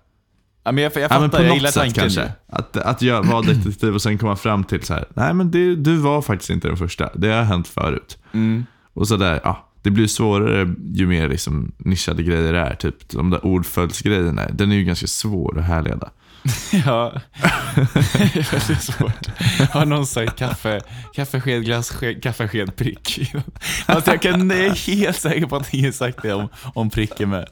Speaker 3: ja, men jag, jag
Speaker 2: Ja,
Speaker 3: fattar,
Speaker 2: men på
Speaker 3: jag
Speaker 2: något
Speaker 3: gillar
Speaker 2: sätt
Speaker 3: tanken.
Speaker 2: kanske. Att, att jag var detektiv och sen komma fram till så här. Nej men det, du var faktiskt inte den första. Det har hänt förut.
Speaker 3: Mm.
Speaker 2: Och så där, ja. Det blir svårare ju mer liksom nischade grejer det är. Typ de där ordföljdsgrejerna. Den är ju ganska svår att
Speaker 3: *laughs*
Speaker 2: härleda.
Speaker 3: Ja, det är svårt. Har någon sagt kaffe, kaffesked, glass, sked, kaffesked, prick? Alltså jag kan, jag är helt säker på att ingen sagt det om, om pricken med.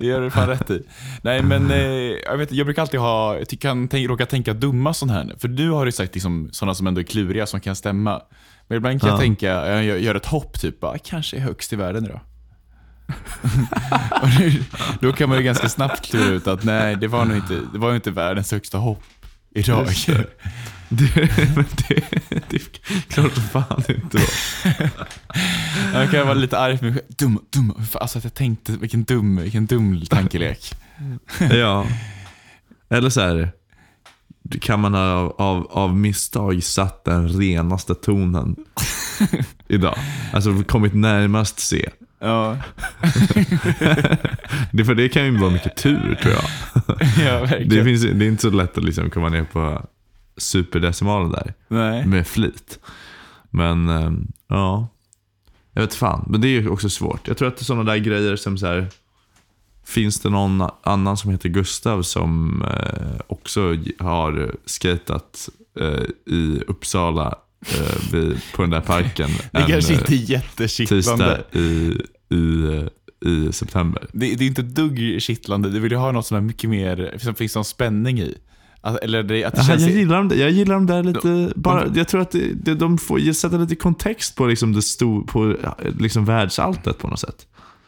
Speaker 3: Det gör du fan rätt i. Nej men eh, jag, vet, jag brukar alltid ha, jag ty- kan tänk, råka tänka dumma sådana här. För du har ju sagt liksom, sådana som ändå är kluriga som kan stämma. Men ibland kan jag
Speaker 2: Ja.
Speaker 3: tänka, jag gör, gör ett hopp typ, bara, kanske är högst i världen idag. Och nu, då kan man ju ganska snabbt klura ut att nej, det var nog inte, det var ju inte världens högsta hopp idag.
Speaker 2: Det, men det, *laughs* det är klart som fan det
Speaker 3: *laughs*
Speaker 2: inte var.
Speaker 3: *laughs* Jag kan vara lite arg på mig själv. Dum, dum. Hur fan- Alltså att jag tänkte, vilken dum, vilken dum tankelek.
Speaker 2: Ja. Eller så här. Kan man ha av, av, av misstag satt den renaste
Speaker 3: *laughs*
Speaker 2: tonen idag? Alltså kommit närmast C.
Speaker 3: *laughs* Ja,
Speaker 2: Det, för det kan ju vara mycket tur tror jag.
Speaker 3: *laughs* ja verkligen.
Speaker 2: Det, finns, det är inte så lätt att liksom komma ner på superdecimalen där
Speaker 3: Nej.
Speaker 2: med flit. Men eh, ja, jag vet fan. Men det är ju också svårt. Jag tror att sådana där grejer som så här. Finns det någon annan som heter Gustav som eh, också har skejtat eh, i Uppsala eh, vid, på den där parken
Speaker 3: Det är kanske
Speaker 2: eh,
Speaker 3: inte är
Speaker 2: tisdag
Speaker 3: jättekittlande.
Speaker 2: i, i, eh, i september.
Speaker 3: Det, det är inte ett dugg kittlande. Du vill ju ha något som är mycket mer, som finns någon spänning i. Att, eller det, att det
Speaker 2: Aha,
Speaker 3: känns...
Speaker 2: jag, gillar dem, där- jag gillar dem där lite, bara, jag tror att det, det, de får ge- sätta lite kontext på, liksom det sto, på ja, liksom världsalltet på något sätt.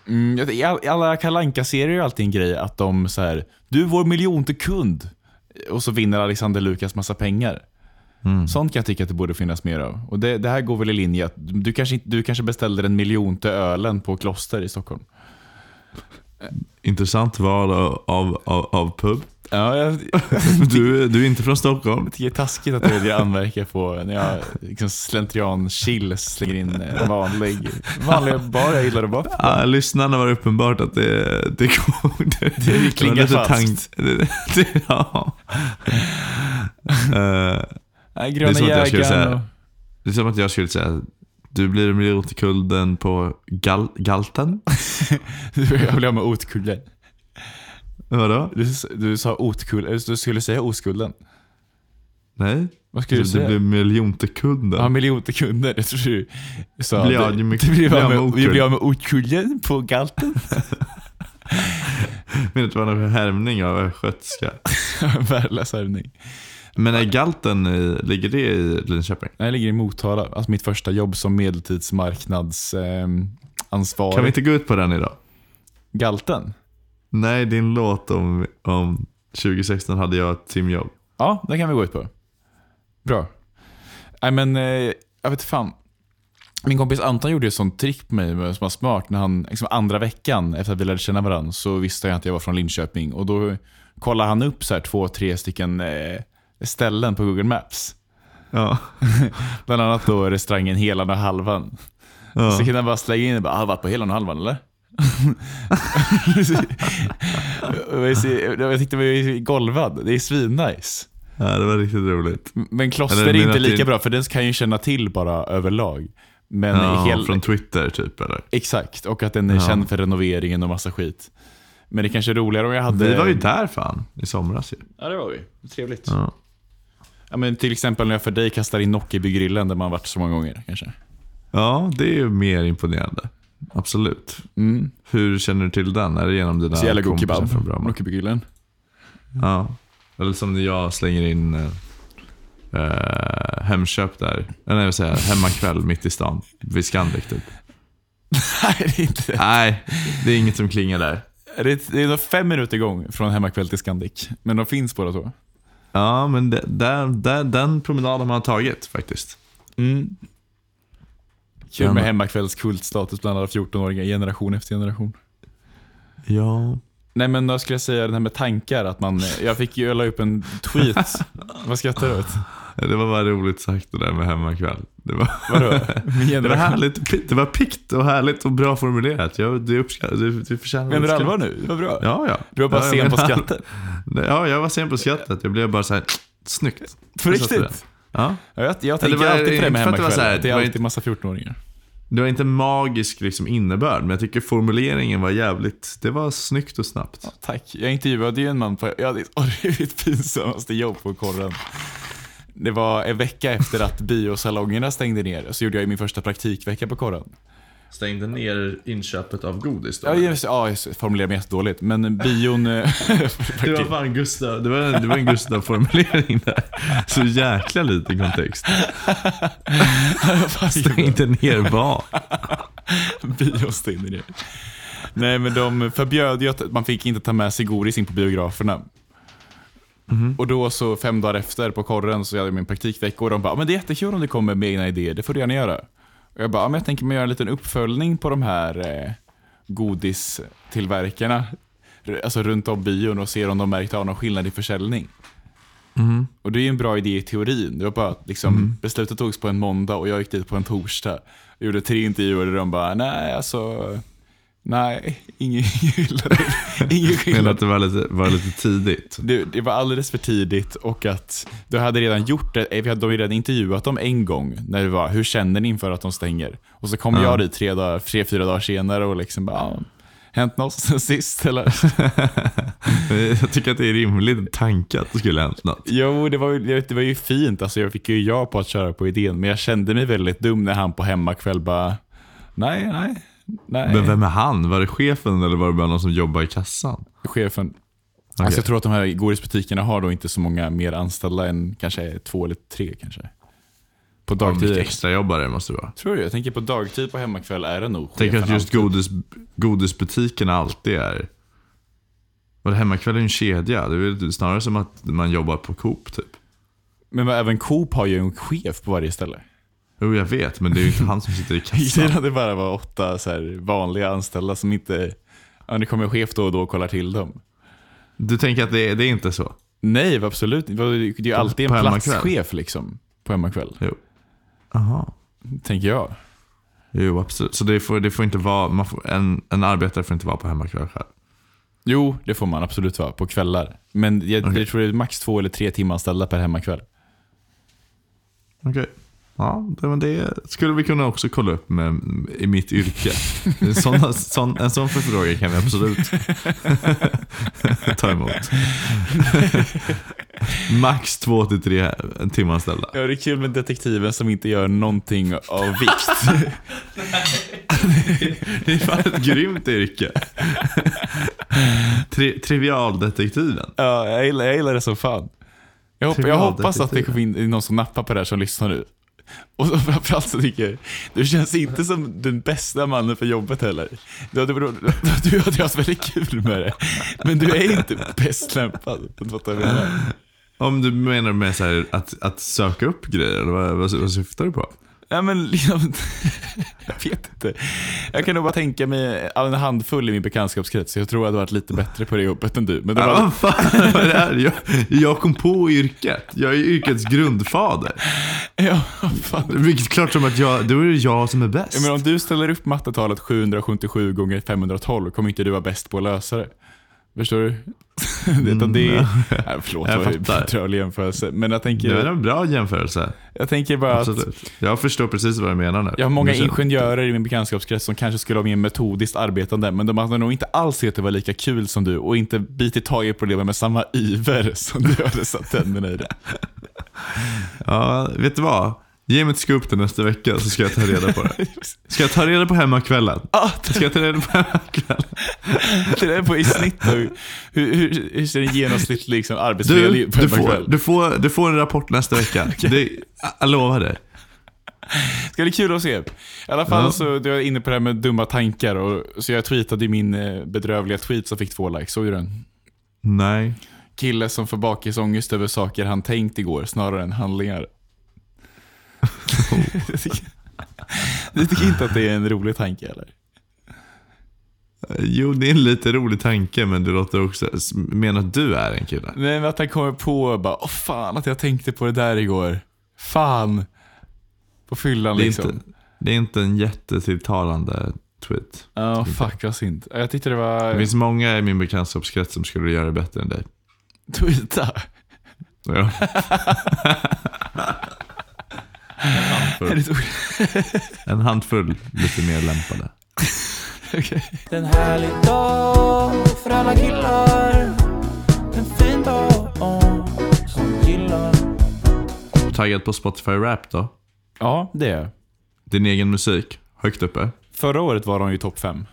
Speaker 3: Mm, jag- I all- i alla kalanka serier är alltid en grej att de så här, du är vår miljonte kund. Och så vinner Alexander Lukas massa pengar. Sånt kan jag tycka att det borde finnas mer av. Och det, det här går väl i linje att du kanske, inte- du kanske beställde den miljonte ölen på Kloster i Stockholm.
Speaker 2: Intressant val av, av, av, av *laughs* pub.
Speaker 3: Ja, jag *laughs*
Speaker 2: Du, du är inte från Stockholm.
Speaker 3: tycker det är taskigt att jag anmärker på när jag liksom slentrian-chill slänger in en vanlig, vanlig bar jag gillar att vara på.
Speaker 2: Ah, lyssnarna var det uppenbart att det, det, kom, *laughs* det, det, var
Speaker 3: klingar
Speaker 2: lite
Speaker 3: falskt.
Speaker 2: tank- *laughs* det, det, ja. *laughs* Eh, är
Speaker 3: Nej, gröna
Speaker 2: som att jag skulle
Speaker 3: jägaren
Speaker 2: säga-
Speaker 3: och...
Speaker 2: det är som att jag skulle säga du blir miljonkulden på gal, *laughs* Galten?
Speaker 3: *laughs* Jag vill ha med otkullen.
Speaker 2: Vadå?
Speaker 3: Du, du sa otkullen, du skulle säga oskulden. Alltså,
Speaker 2: Nej?
Speaker 3: Vad skulle
Speaker 2: Du,
Speaker 3: du säga?
Speaker 2: Alltså, blir
Speaker 3: Ja,
Speaker 2: miljonkulden.
Speaker 3: miljoner kunder. Jag tror du sa
Speaker 2: Blir av
Speaker 3: att-
Speaker 2: med-
Speaker 3: du blir av med,
Speaker 2: okull.
Speaker 3: vi blir av med okullen
Speaker 2: *laughs*
Speaker 3: på galten.
Speaker 2: Men det var någon härmning av östgötska.
Speaker 3: Värdelös övning.
Speaker 2: Men är Galten, i, ligger det i Linköping?
Speaker 3: Jag ligger i Motala, alltså mitt första jobb som ehm, medeltidsmarknadsansvarig.
Speaker 2: Kan vi inte gå ut på den idag?
Speaker 3: Galten?
Speaker 2: Nej, din låt om, om 2016 hade jag ett timjobb.
Speaker 3: Ja, det kan vi gå ut på. Bra. Nej men, eh, jag vet fan. Min kompis Anton gjorde ett sånt trick på mig med- som var smart. När han, liksom andra veckan efter att vi lärde känna varandra så visste jag att jag var från Linköping. Och då kollade han upp så här två, tre stycken eh, ställen på Google Maps.
Speaker 2: Ja.
Speaker 3: Bland annat då restaurangen Helan och Halvan.
Speaker 2: Ja.
Speaker 3: Så kan han bara slänga in och bara, "Ah, har du varit på Helan och Halvan eller? *laughs* Och jag ser- jag tyckte jag var golvad. Det är svinnice.
Speaker 2: ja, det var riktigt roligt.
Speaker 3: Men kloster
Speaker 2: Eller
Speaker 3: är
Speaker 2: menar
Speaker 3: inte
Speaker 2: att det-
Speaker 3: lika bra för den kan ju känna till bara överlag. Men
Speaker 2: Ja,
Speaker 3: hel...
Speaker 2: Från Twitter typ eller?
Speaker 3: Exakt, och att den är känd för renoveringen och massa skit. Men det kanske är roligare om jag hade...
Speaker 2: Vi var ju där fan i somras ju.
Speaker 3: Ja, det var vi. Trevligt. Ja.
Speaker 2: Ja.
Speaker 3: men till exempel när jag för dig kastar in Nockebygrillen där man varit så många gånger kanske.
Speaker 2: ja, det är ju mer imponerande. Absolut.
Speaker 3: Mm.
Speaker 2: Hur känner du till den? Är det genom dina
Speaker 3: Så jävla god
Speaker 2: kompisar från
Speaker 3: kebab.
Speaker 2: Bromma?
Speaker 3: Nockebygrillen.
Speaker 2: Ja. Eller som när jag slänger in eh, eh, Hemköp där. Eller nej, vad säger jag? Hemmakväll mitt i stan. Vid Scandic typ.
Speaker 3: *laughs* Nej, det är inte.
Speaker 2: Nej, det är inget som klingar där.
Speaker 3: Det är, det är nog fem minuter gång från Hemmakväll till Scandic. Men de finns båda två.
Speaker 2: Ja, men det, där, där, den promenaden har man tagit faktiskt.
Speaker 3: Mm. Kul
Speaker 2: Men-
Speaker 3: med Hemmakvälls kultstatus bland alla 14-åringar generation efter generation.
Speaker 2: Ja.
Speaker 3: Nej men jag skulle jag säga det här med tankar, att man, jag fick ju jag la upp en tweet. *laughs* Vad skrattar du åt?
Speaker 2: Det var bara roligt sagt det där med hemmakväll. Det var,
Speaker 3: Vadå?
Speaker 2: *laughs*
Speaker 3: Min
Speaker 2: det var
Speaker 3: generation?
Speaker 2: härligt. Det var pikt och härligt och bra formulerat. Jag, det uppskattar, du, du förtjänar
Speaker 3: Menar du
Speaker 2: uppskatt.
Speaker 3: allvar nu? Det var bra.
Speaker 2: Ja, ja.
Speaker 3: Du var bara
Speaker 2: ja, jag
Speaker 3: sen på
Speaker 2: menar-
Speaker 3: skrattet.
Speaker 2: *laughs* Ja, jag var sen på skrattet. Jag blev bara så här, snyggt.
Speaker 3: På
Speaker 2: Jag satte
Speaker 3: riktigt?
Speaker 2: det. Ja.
Speaker 3: Ja, jag, jag tänker
Speaker 2: var-
Speaker 3: alltid på det med
Speaker 2: inte för att det var
Speaker 3: hemmakväll.
Speaker 2: så här,
Speaker 3: Det
Speaker 2: det
Speaker 3: är
Speaker 2: var
Speaker 3: alltid
Speaker 2: inte-
Speaker 3: massa 14-åringar.
Speaker 2: Det var inte magisk liksom, innebörd, men jag tycker formuleringen var jävligt... Det var snyggt och snabbt.
Speaker 3: Tack. Jag intervjuade ju en man på... Ja, det är oh, mitt *laughs* pinsammaste jobb på korren. Det var en vecka efter att biosalongerna stängde ner, så gjorde jag ju min första praktikvecka på korren.
Speaker 2: Stängde ner inköpet av godis då?
Speaker 3: Ja, just, ja, jag formulerade mig jättedåligt, men bion... eh, *laughs*
Speaker 2: Det var fan Gustav, det var, det var en Gustav-formulering där. Så jäkla liten kontext. Stängde ner *laughs* vad?
Speaker 3: *laughs* bio stängde ner. Nej, men de förbjöd ju att man fick inte ta med sig godis in på biograferna. Och då så fem dagar efter på korren så hade jag min praktikvecka och de bara, men det är jättekul om du kommer med egna idéer, det får du gärna göra. Och jag bara, "Ja, men jag tänker mig göra en liten uppföljning på de här eh, godistillverkarna. r- Alltså runt om bion och ser om de märkt av någon skillnad i försäljning. Och det är ju en bra idé i teorin. Det var bara att liksom, beslutet togs på en måndag och jag gick dit på en torsdag. Jag gjorde tre intervjuer och de bara, nej alltså, nej, ingen skillnad. Ingen
Speaker 2: Menar
Speaker 3: skillnad.
Speaker 2: att det var lite, var lite tidigt.
Speaker 3: Det, det var alldeles för tidigt och att du hade redan gjort det, eh, vi hade de hade redan intervjuat dem en gång när det var, hur känner ni inför att de stänger? Och så kom jag dit tre, dagar, tre fyra dagar senare och liksom bara, "Ja, Hänt något sen *laughs* sist eller?
Speaker 2: Jag tycker att det är rimligt tanke att det skulle ha hänt något.
Speaker 3: Jo, det var, ju- det var ju fint. Alltså, jag fick ju ja på att köra på idén, men jag kände mig väldigt dum när han på hemmakväll bara, nej, nej, nej.
Speaker 2: Men vem är han? Var det chefen eller var det bara någon som jobbar i kassan?
Speaker 3: Chefen. Alltså, jag tror att de här godisbutikerna har då inte så många mer anställda än kanske två eller tre kanske. På
Speaker 2: Mycket
Speaker 3: dagtid.
Speaker 2: extrajobbare måste det vara.
Speaker 3: Tror du? Jag tänker på dagtid på hemmakväll är det nog
Speaker 2: Tänk
Speaker 3: chefen
Speaker 2: att just
Speaker 3: alltid.
Speaker 2: godis, godisbutikerna alltid är... Var det hemmakväll är en kedja? Det är väl typ snarare som att man jobbar på Coop typ.
Speaker 3: Men vad, även Coop har ju en chef på varje *laughs* ställe.
Speaker 2: Jo, jag vet, men det är ju inte han som
Speaker 3: *laughs*
Speaker 2: sitter i kassan.
Speaker 3: Innan det bara var åtta så här, vanliga anställda som inte... Ja, det kommer en chef då och då och kollar till dem.
Speaker 2: Du tänker att det är, det är inte så?
Speaker 3: Nej, absolut inte. Det är ju alltid
Speaker 2: på
Speaker 3: en
Speaker 2: hemmakväll?
Speaker 3: platschef liksom. På hemmakväll,
Speaker 2: Jo. Aha.
Speaker 3: tänker jag.
Speaker 2: Jo, absolut. Så det får, det får inte vara... Man får, en, en arbetare får inte vara på hemmakväll själv.
Speaker 3: Jo, det får man absolut vara på kvällar. Men jag, jag tror det är max två eller tre timmar anställda per hemmakväll.
Speaker 2: Okej. Ja, det, men det skulle vi kunna också kolla upp med, i mitt *laughs* yrke. Såna, sån, en sån förfrågan kan vi absolut *laughs* ta *laughs* emot. Max två till tre timanställda.
Speaker 3: Ja, det är kul med detektiven som inte gör någonting av *laughs* vikt.
Speaker 2: Det är fan ett grymt yrke. Tri, trivialdetektiven.
Speaker 3: ja, jag, gillar, jag gillar det som fan. Jag, hopp, jag hoppas att det
Speaker 2: Trivialdetektiv.
Speaker 3: kommer in det är någon som nappar på det här som lyssnar nu. Och så *laughs* framförallt så tycker jag, du känns inte som den bästa mannen för jobbet heller. Du hade, du, du hade haft väldigt kul med det, men du är inte bäst lämpad. Vet du vad jag menar?
Speaker 2: Om du menar med så här, att, att söka upp grejer, eller vad, vad, vad syftar du på?
Speaker 3: Nej men liksom, *laughs* jag vet inte. Jag kan nog bara tänka mig en handfull i min bekantskapskrets. Jag tror jag hade varit lite bättre på det jobbet än du. Men det
Speaker 2: Ja,
Speaker 3: var,
Speaker 2: vad fan vad är det här? Jag, jag kom på yrket. Jag är yrkets grundfader.
Speaker 3: ja, fan.
Speaker 2: Vilket klart som att jag, då är det jag som är bäst.
Speaker 3: Men om du ställer upp mattetalet 777 gånger 512 kommer inte du vara bäst på att lösa det. Förstår du? *laughs* Det, utan det är, nej,
Speaker 2: Mm,
Speaker 3: förlåt,
Speaker 2: Jag
Speaker 3: det var en
Speaker 2: fattar.
Speaker 3: bedrövlig jämförelse. Men jag
Speaker 2: Det är
Speaker 3: tänker,
Speaker 2: en bra jämförelse.
Speaker 3: jag tänker bara att
Speaker 2: Absolut. Jag förstår precis vad du menar nu.
Speaker 3: jag har många
Speaker 2: Nu känner-
Speaker 3: ingenjörer i min bekantskapskrets som kanske skulle ha mer metodiskt arbetande, men de hade nog inte alls tyckt att det var lika kul som du och inte bitit tag i problemen med samma iver *laughs* som du hade satt tänderna i det.
Speaker 2: Ja, vet du vad? Ge mig ett scoop till nästa vecka så ska jag ta reda
Speaker 3: *laughs*
Speaker 2: på det. Ska jag ta reda på hemmakvällen?
Speaker 3: Ah,
Speaker 2: Ska jag ta reda
Speaker 3: *laughs*
Speaker 2: på hemmakvällen?
Speaker 3: det där är på i snitt då. Hur, hur, hur, hur ser en genomsnittlig liksom,
Speaker 2: Du,
Speaker 3: arbetsmiljö ut på
Speaker 2: du,
Speaker 3: en
Speaker 2: får,
Speaker 3: kväll?
Speaker 2: du, får, du får en rapport nästa
Speaker 3: *laughs*
Speaker 2: vecka. Det, jag lovar dig.
Speaker 3: Ska bli kul att se. I alla fall
Speaker 2: Ja.
Speaker 3: så, du är inne på det här med dumma tankar, och, så jag tweetade ju min eh, bedrövliga tweet som fick två likes. Såg du den?
Speaker 2: Nej.
Speaker 3: Kille som får bakisångest över saker han tänkt igår snarare än *laughs* handlingar. Ni tycker inte att det är en rolig tanke eller?
Speaker 2: Jo, det är en lite rolig tanke, men du låter också... Menar att du är en kille?
Speaker 3: Nej men att han kommer på och bara, åh fan att jag tänkte på det där igår. Fan. På fyllan
Speaker 2: Det är,
Speaker 3: liksom.
Speaker 2: inte, det är inte en jättetilltalande tweet.
Speaker 3: Ja, fuck vad synd. Ja, Jag tyckte det
Speaker 2: Det
Speaker 3: var...
Speaker 2: finns många i min bekantskapskrets som skulle göra det bättre än dig.
Speaker 3: *laughs* Tweeta. *laughs*
Speaker 2: Ja.
Speaker 3: Är det så-
Speaker 2: En handfull lite mer lämpade.
Speaker 3: Okej.
Speaker 1: Det är en härlig dag för alla killar. En fin dag åh, som gillar.
Speaker 2: Taggad på Spotify Rap då?
Speaker 3: Ja, det är jag.
Speaker 2: Din egen musik, högt uppe.
Speaker 3: Förra året var de ju topp fem.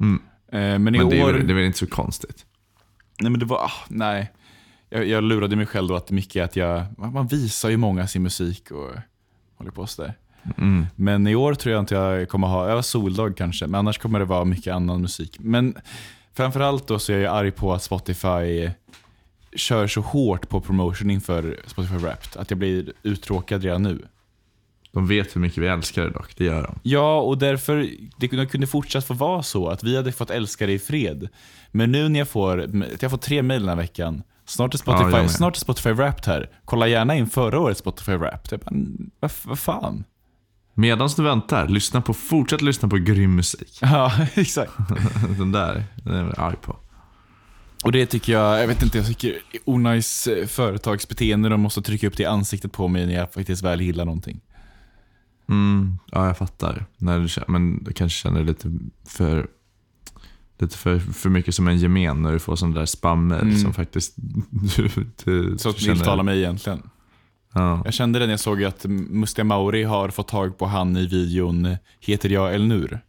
Speaker 2: Mm.
Speaker 3: Eh, Men i
Speaker 2: Men det är,
Speaker 3: år...
Speaker 2: väl- det är väl inte så konstigt?
Speaker 3: Nej, men det var... Ah, nej. Jag, jag lurade mig själv då att mycket att jag... Man, man visar ju många sin musik och håller på sådär.
Speaker 2: Mm.
Speaker 3: Men i år tror jag inte jag kommer ha... Jag har soldag kanske, men annars kommer det vara mycket annan musik. Men framförallt då så är jag arg på att Spotify kör så hårt på promotion inför Spotify Wrapped att jag blir uttråkad redan nu.
Speaker 2: De vet hur mycket vi älskar det dock, det gör de.
Speaker 3: Ja, och därför det kunde- kunde fortsatt få vara så att vi hade fått älska det i fred. Men nu när jag får, jag har fått tre mejl den här veckan. Snart är
Speaker 2: Ja,
Speaker 3: Spotify,
Speaker 2: jag med.
Speaker 3: snart är Spotify Wrapped här. Kolla gärna in förra årets Spotify Wrapped. Jag bara, "Mm, vad, vad fan?
Speaker 2: Medan du väntar, lyssna på, fortsätt lyssna på grym musik.
Speaker 3: Ja, *laughs* exakt.
Speaker 2: Den där, den är jag arg på.
Speaker 3: Och det tycker jag, jag vet inte, jag tycker det är onajs eh, företagsbeteende. De måste trycka upp det i ansiktet på mig när jag faktiskt väl gillar någonting.
Speaker 2: Mm, ja, jag fattar. När du, känner- men du kanske känner dig lite för lite för, för mycket som en gemen när du får sån där spammel
Speaker 3: Mm.
Speaker 2: som faktiskt *laughs* du, du
Speaker 3: Så att
Speaker 2: känner-
Speaker 3: tilltala mig egentligen.
Speaker 2: Ja.
Speaker 3: Jag kände det när jag såg att Mustiga Mauri har fått tag på han i videon eh, Heter jag Elnur?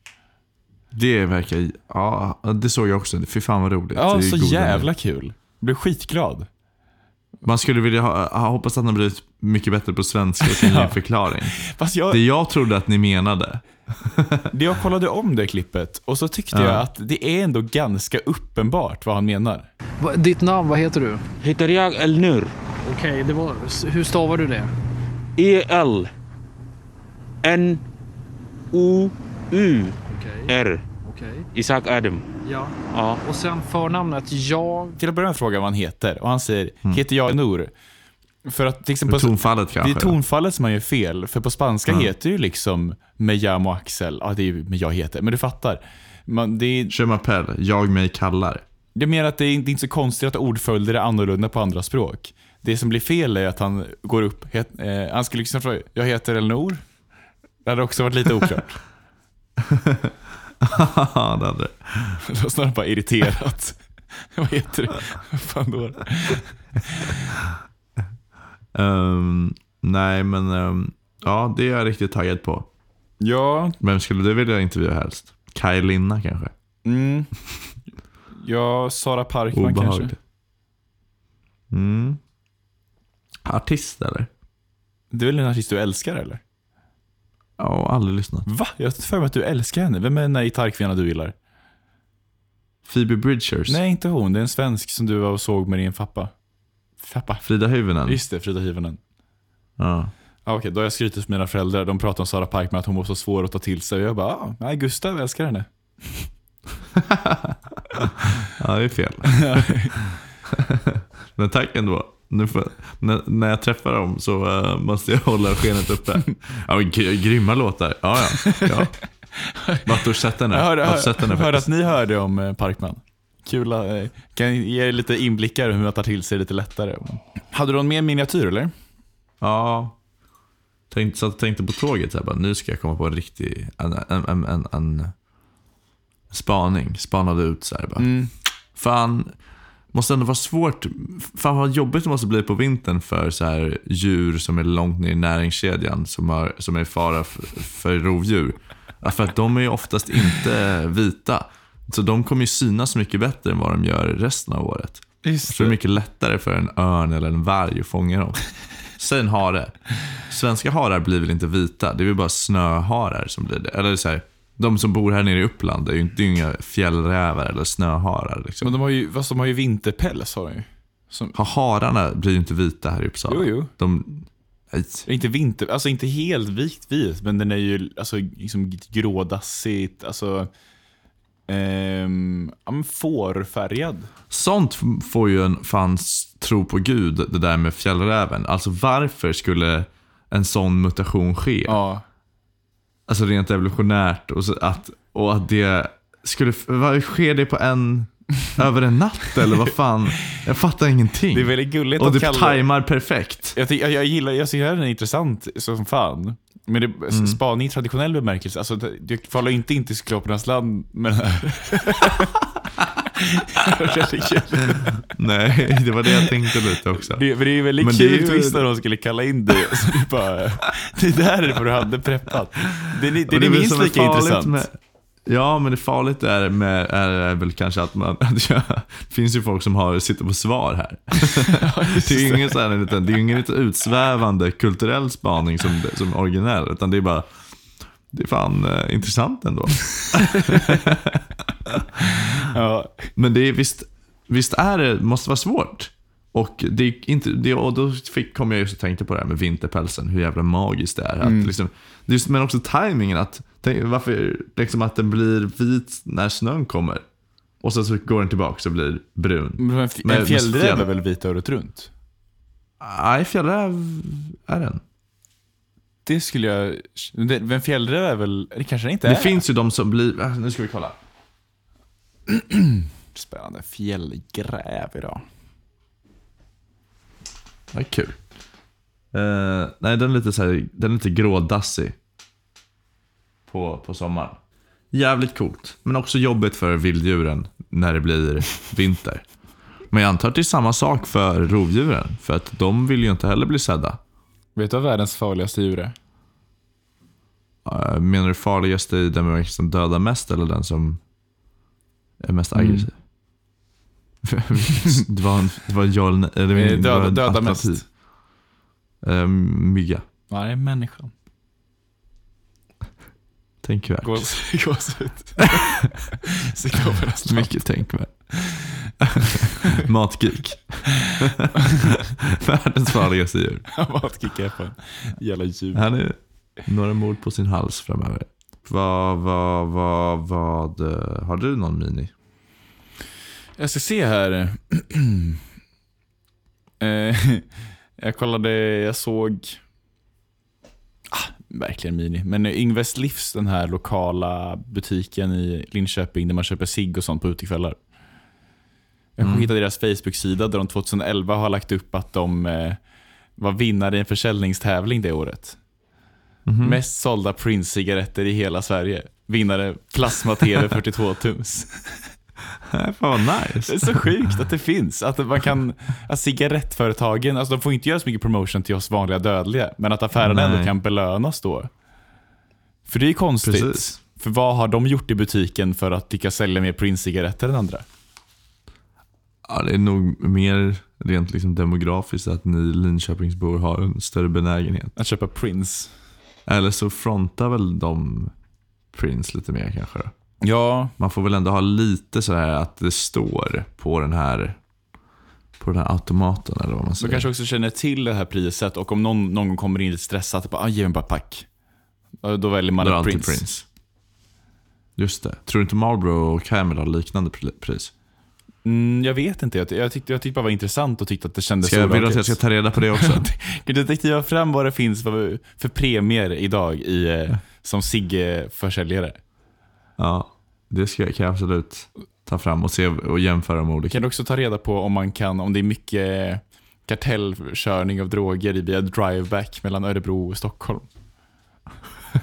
Speaker 2: Det verkar, ja det såg jag också. Fy fan vad roligt. Det
Speaker 3: Ja,
Speaker 2: är
Speaker 3: så
Speaker 2: goda
Speaker 3: jävla kul. Jag blev skitglad.
Speaker 2: Man skulle vilja ha, jag hoppas att han har blivit mycket bättre på svenska och
Speaker 3: *laughs*
Speaker 2: kan ge en förklaring.
Speaker 3: Fast jag,
Speaker 2: Det jag trodde att ni menade.
Speaker 3: det jag kollade om det klippet och så tyckte
Speaker 2: Ja.
Speaker 3: jag att det är ändå ganska uppenbart vad han menar.
Speaker 6: Va- Ditt namn, vad heter du?
Speaker 7: Heter jag Elnur?
Speaker 6: Okej, det var... s- Hur stavar du det?
Speaker 7: E-L N O U
Speaker 6: Okej,
Speaker 7: R
Speaker 6: okej.
Speaker 7: Isak Adam.
Speaker 6: Ja.
Speaker 7: Ja.
Speaker 6: Och sen förnamnet, jag...
Speaker 3: Till att börja med frågar vad han heter och han säger
Speaker 2: Mm.
Speaker 3: “Heter jag Elnur?” För att till exempel...
Speaker 2: Med tonfallet
Speaker 3: Det är
Speaker 2: kanske.
Speaker 3: tonfallet som man gör fel, för på spanska heter det ju liksom “med jam och Axel”. Ja, det är ju “med jag heter”, men du fattar. Man, det, är,
Speaker 2: Je m'appelle, jag mig kallar. *laughs*
Speaker 3: det är mer att det är, det är inte så konstigt att ordföljder är annorlunda på andra språk. Det som blir fel är att han går upp... Het, eh, han skulle liksom fråga “Jag heter Elnor?” Det hade också varit lite oklart. *laughs*
Speaker 2: Ja, det hade det.
Speaker 3: det var snarare bara irriterat. *laughs* Vad heter du? Vad Fan då?
Speaker 2: Ehm, nej, men ehm, ja, det är jag riktigt taggad på.
Speaker 3: Ja,
Speaker 2: Vem skulle du vilja intervjua helst? Kaj Linna kanske?
Speaker 3: mm. Ja, Sara Parkman
Speaker 2: Obehagligt.
Speaker 3: kanske.
Speaker 2: Mm. Artist eller?
Speaker 3: Du är väl en artist du älskar eller?
Speaker 2: Ja, aldrig lyssnat.
Speaker 3: Va? Jag har för mig att du älskar henne. Vem är den där gitarrkvinnan du gillar?
Speaker 2: Phoebe Bridgers?
Speaker 3: Nej, inte hon. Det är en svensk som du var och såg med din pappa. Pappa?
Speaker 2: Frida Hyvönen?
Speaker 3: Just det, Frida Hyvönen.
Speaker 2: Ja.
Speaker 3: Ah, Okej, då har jag skrutit för mina föräldrar. De pratade om Sara Parkman, att hon var så svår att ta till sig. Och jag bara, ah, nej, Gustav älskar henne.
Speaker 2: ja, det är
Speaker 3: *laughs*
Speaker 2: fel. Men tack ändå. Nu får, när, när jag träffar dem så eh, måste jag hålla skenet
Speaker 3: *laughs*
Speaker 2: uppe. Ja, men gr- grymma låtar. Ja, ja. ja. Vart har du sett den?
Speaker 3: Jag
Speaker 2: här?
Speaker 3: hörde,
Speaker 2: Jag har
Speaker 3: hör,
Speaker 2: sett den här
Speaker 3: hörde
Speaker 2: faktiskt.
Speaker 3: att ni hörde om eh, Parkman. Kul att, eh, kan ge er lite inblickar hur man tar till sig det lite lättare. Hade du någon mer miniatyr eller?
Speaker 2: Ja. Tänkte, satt och tänkte på tåget så här, bara, nu ska jag komma på en riktig, en, en, en, en, en spaning. Spanade ut så här bara. Fan, måste ändå vara svårt. Fan vad jobbigt det måste bli på vintern för så här djur som är långt ner i näringskedjan som, har, som är i fara för, för rovdjur. Ja, För att de är ju oftast inte vita. Så de kommer ju synas mycket bättre än vad de gör resten av året.
Speaker 3: Just
Speaker 2: Så det är mycket lättare för en örn eller en varg att fånga dem. Säg en hare. Svenska harar blir väl inte vita? Det är väl bara snöharar som blir det. Eller så här, de som bor här nere i Uppland, det är ju inte det är ju inga fjällrävar eller snöharar.
Speaker 3: Men
Speaker 2: Liksom.
Speaker 3: de har ju, fast de har ju vinterpäls har de ju.
Speaker 2: Ha- Hararna blir ju inte vita här i Uppsala.
Speaker 3: Jo, jo.
Speaker 2: De, nej.
Speaker 3: Inte vinter, alltså inte helt vit vit, men den är ju alltså, liksom grådassigt, alltså ehm, ja, men fårfärgad.
Speaker 2: Sånt f- får ju en fans tro på Gud, det där med fjällräven. Alltså varför skulle en sån mutation ske?
Speaker 3: Ja.
Speaker 2: Alltså rent evolutionärt och, så att, och att det skulle... Vad sker det på en...
Speaker 3: *laughs*
Speaker 2: över en natt eller vad fan? Jag fattar ingenting.
Speaker 3: Det är väldigt gulligt
Speaker 2: och
Speaker 3: att
Speaker 2: det
Speaker 3: kalla
Speaker 2: tajmar perfekt.
Speaker 3: jag, tycker- jag, jag gillar, jag tycker den är intressant som fan. Men det, spaning i traditionell bemärkelse, alltså det- du faller inte in till Cyklopernas land med den här.
Speaker 2: *laughs* Nej, det var det jag tänkte lite också.
Speaker 3: det, men det är ju väldigt
Speaker 2: Men det
Speaker 3: kul
Speaker 2: är ju-
Speaker 3: twist när de skulle kalla in dig. Så det, *laughs* är bara, det där är vad du hade preppat. Den är,
Speaker 2: Och
Speaker 3: den är
Speaker 2: väl
Speaker 3: minst
Speaker 2: som är
Speaker 3: lika
Speaker 2: farligt
Speaker 3: intressant.
Speaker 2: Med, ja, men det farligt är, med, är väl kanske att man... *laughs* Att jag, det finns ju folk som har, sitter på svar
Speaker 3: *laughs*
Speaker 2: här. det är ju ingen, så här, en liten, det är ju ingen lite utsvävande kulturell spaning som, som originell, utan det är bara... Det är fan eh, intressant ändå.
Speaker 3: Ja.
Speaker 2: Men det är, visst, visst är det, måste vara svårt. Och, det är inte, det, och då fick, kom jag just och tänkte på det här med vinterpälsen, hur jävla magiskt det är. Att liksom, just, men också tajmingen, att, tänk, varför, liksom att den blir vit när snön kommer. Och sen så går den tillbaka och blir brun.
Speaker 3: Men en
Speaker 2: Men-
Speaker 3: f-
Speaker 2: men
Speaker 3: en fjällräv
Speaker 2: fjäll-
Speaker 3: är väl vit året runt?
Speaker 2: Nej, fjällräv är den.
Speaker 3: Det skulle jag... det- Men fjällräv är väl... Det kanske den inte
Speaker 2: Det
Speaker 3: är.
Speaker 2: finns ju de som blir, äh, nu ska vi kolla.
Speaker 3: Spännande. Fjällgräv idag.
Speaker 2: Ja, kul. Eh, nej, den är lite, så här, den är lite grådassig. På, på sommaren. Jävligt coolt. Men också jobbigt för vilddjuren när det blir
Speaker 3: *laughs*
Speaker 2: vinter. Men jag antar att det är samma sak för rovdjuren. För att de vill ju inte heller bli sedda.
Speaker 8: Vet du vad världens farligaste djur är?
Speaker 2: Eh, Menar du farligaste i den bemärkelsen som dödar mest eller den som är mest
Speaker 3: Mm. *laughs*
Speaker 2: aggressiv? det var en, det var en ja eller eller
Speaker 3: Eh,
Speaker 2: det
Speaker 3: döda-
Speaker 2: var en
Speaker 3: döda
Speaker 2: alternativ.
Speaker 3: mest.
Speaker 2: Eh, mygga,
Speaker 8: Nej, människan.
Speaker 2: tänkvärt.
Speaker 3: *laughs* Gås- Gåshud. Psykopernas land.
Speaker 2: Mycket tänkvärt. *laughs* Matgeek. *laughs* Världens farligaste djur.
Speaker 3: *laughs* Matkickar på en jävla djup.
Speaker 2: Han är några mord på sin hals framöver. Vad, vad, vad, vad. eh, Har du någon mini? *laughs*
Speaker 3: Jag ska se här. *clears throat* Eh, jag kollade, jag såg... Ah, verkligen mini. Men Ingves Livs, den här lokala butiken i Linköping där man köper cigg och sånt på utekvällar. Jag mm. hittade deras Facebook-sida där de 2011 har lagt upp att de eh, var vinnare i en försäljningstävling det året. Mest sålda Prince-cigaretter i hela Sverige. Vinnare plasma-tv 42 tums.
Speaker 2: Fan vad nice.
Speaker 3: Det är så sjukt att det finns. Att man kan, att cigarettföretagen, alltså de får inte göra så mycket promotion till oss vanliga dödliga, men att affärerna
Speaker 2: Nej.
Speaker 3: ändå kan belönas då. För det är ju konstigt.
Speaker 2: Precis.
Speaker 3: För vad har de gjort i butiken för att lyckas sälja mer Prince-cigaretter än andra?
Speaker 2: Ja, det är nog mer rent liksom demografiskt att ni Linköpingsbor har en större benägenhet.
Speaker 3: Att köpa Prince?
Speaker 2: Eller så frontar väl de Prince lite mer kanske. då.
Speaker 3: Ja,
Speaker 2: Man får väl ändå ha lite så här att det står på den här på den här automaten eller vad man
Speaker 3: de
Speaker 2: säger.
Speaker 3: kanske också känner till det här priset och om någon, någon gång kommer in lite stressad, bara, ah, ge mig bara ett pack. Ja, Då väljer man
Speaker 2: Drar
Speaker 3: ett
Speaker 2: alltid
Speaker 3: Prince.
Speaker 2: Prince. Just det. Tror du inte Marlboro och Camel har liknande pri- pris?
Speaker 3: Mm, jag vet inte, jag, jag, tyckte, jag tyckte bara det var intressant och tyckte att det kändes
Speaker 2: Ska jag, vill du att jag
Speaker 3: olagligt.
Speaker 2: ska ta reda på det
Speaker 3: *laughs*
Speaker 2: också?
Speaker 3: Kan du detektiva fram vad det finns för, för premier idag i, eh, som Sigge-försäljare?
Speaker 2: ja, det ska jag, kan jag absolut ta fram och se och jämföra de olika.
Speaker 3: Kan du också ta reda på om man kan, om det är mycket eh, kartellkörning av droger i- via driveback mellan Örebro och Stockholm?
Speaker 2: *laughs*
Speaker 3: *laughs*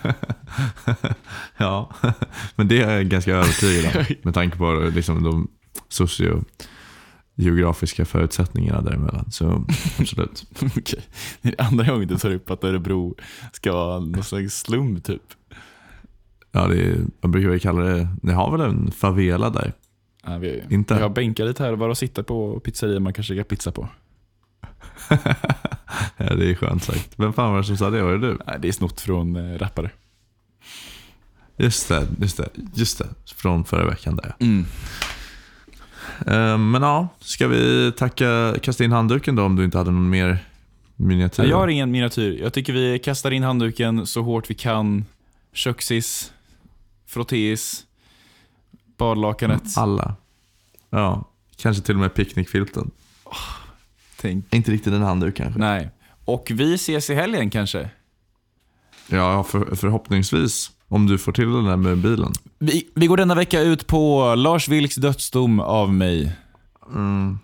Speaker 2: Ja, *laughs* men det är jag ganska övertygad
Speaker 3: *laughs*
Speaker 2: om med tanke på liksom, de sociogeografiska förutsättningarna däremellan. Så absolut.
Speaker 3: Okej, det är andra gången du tar upp att Örebro ska vara någon slags slum typ.
Speaker 2: Ja, det är, vad brukar vi kalla det? Ni har väl en favela där?
Speaker 3: Nej, vi,
Speaker 2: Inte?
Speaker 3: vi har bänkar lite här och bara att sitta på pizzerior man kan käka pizza på.
Speaker 2: Ja, det är skönt sagt. Vem fan var det som sa det? Var det du?
Speaker 3: Nej, det är snott från eh, rappare.
Speaker 2: Just det, just det, just det. Från förra veckan där ja. Eh, Men ja, ska vi tacka, kasta in handduken då om du inte hade någon mer miniatyr?
Speaker 3: Nej, jag har ingen miniatyr. Jag tycker vi kastar in handduken så hårt vi kan. Köksis, frottéis, badlakanet.
Speaker 2: Alla. Ja, kanske till och med picknickfilten.
Speaker 3: Tänk.
Speaker 2: Inte riktigt en handduk kanske.
Speaker 3: Nej. Och vi ses i helgen kanske?
Speaker 2: Ja, för, förhoppningsvis. Om du får till den där med bilen.
Speaker 3: Vi, vi går denna vecka ut på Lars Vilks dödsdom av mig.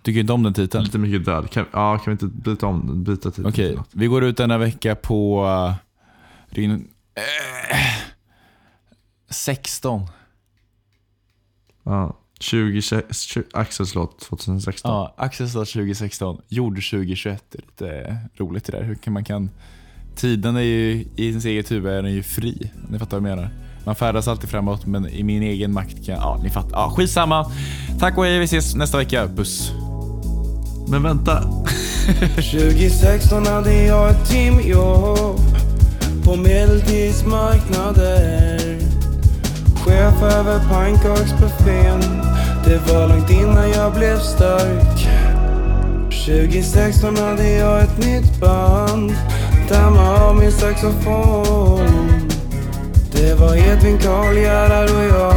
Speaker 3: Tycker inte om den titeln.
Speaker 2: Lite mycket död. Kan, ja, kan vi inte byta om byta titel?
Speaker 3: Okej,
Speaker 2: till något?
Speaker 3: vi går ut denna vecka på... Uh, Ryn... eh, 16.
Speaker 2: Ja. 20, 20, Axels låt 2016.
Speaker 3: Ja, Axelstad 2016, jord 2021. Det är lite roligt det där. Hur kan man kan... Tiden är ju, i ens eget huvud är den ju fri. Ni fattar vad jag menar. Man färdas alltid framåt, men i min egen makt kan... Ja, ni fattar. Ja, skitsamma. Tack och hej, vi ses nästa vecka. Puss.
Speaker 2: Men vänta.
Speaker 9: 2016 hade jag ett timjobb på medeltidsmarknader. Chef över pannkaksbuffén. Det var långt innan jag blev stark. 2016 hade jag ett nytt band. Damma av min saxofon. Det var Edvin, Karl, Gerhard och jag.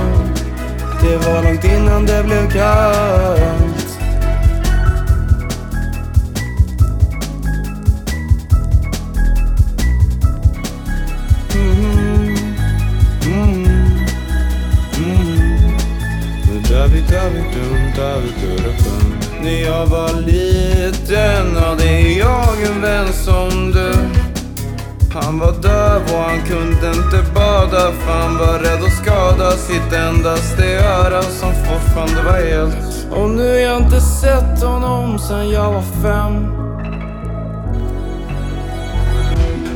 Speaker 9: Det var långt innan det blev kallt. Mm. Mm. Mm. Da-bi-da-bi-dum-da-bi-du-da-bum. När jag var liten hade jag en vän som du Han var döv och han kunde inte bada för han var rädd att skada sitt endaste öra som fortfarande var helt. Och nu jag inte sett honom sen jag var fem.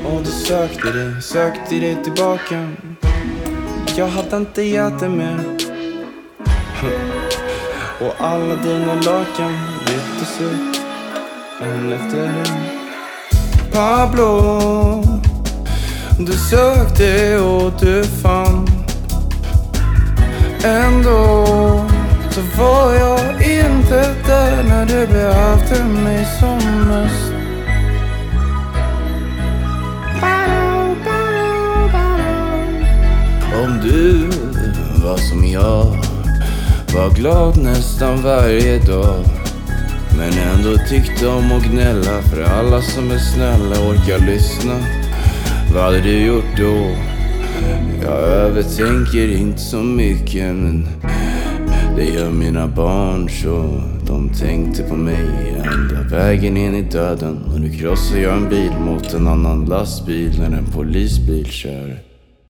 Speaker 9: Och du sökte dig, sökte dig tillbaka. Jag hade inte gett dig mer. Och alla dina lakan byttes ut en efter en. Pablo, du sökte och du fann. Ändå så var jag inte där när du behövde mig som mest. Pablo, Pablo, Pablo. Om du var som jag var glad nästan varje dag Men ändå tyckte om att gnälla För alla som är snälla orkar lyssna Vad hade du gjort då? Jag övertänker inte så mycket men Det gör mina barn så De tänkte på mig ända vägen in i döden Och nu krossar jag en bil mot en annan lastbil När en polisbil kör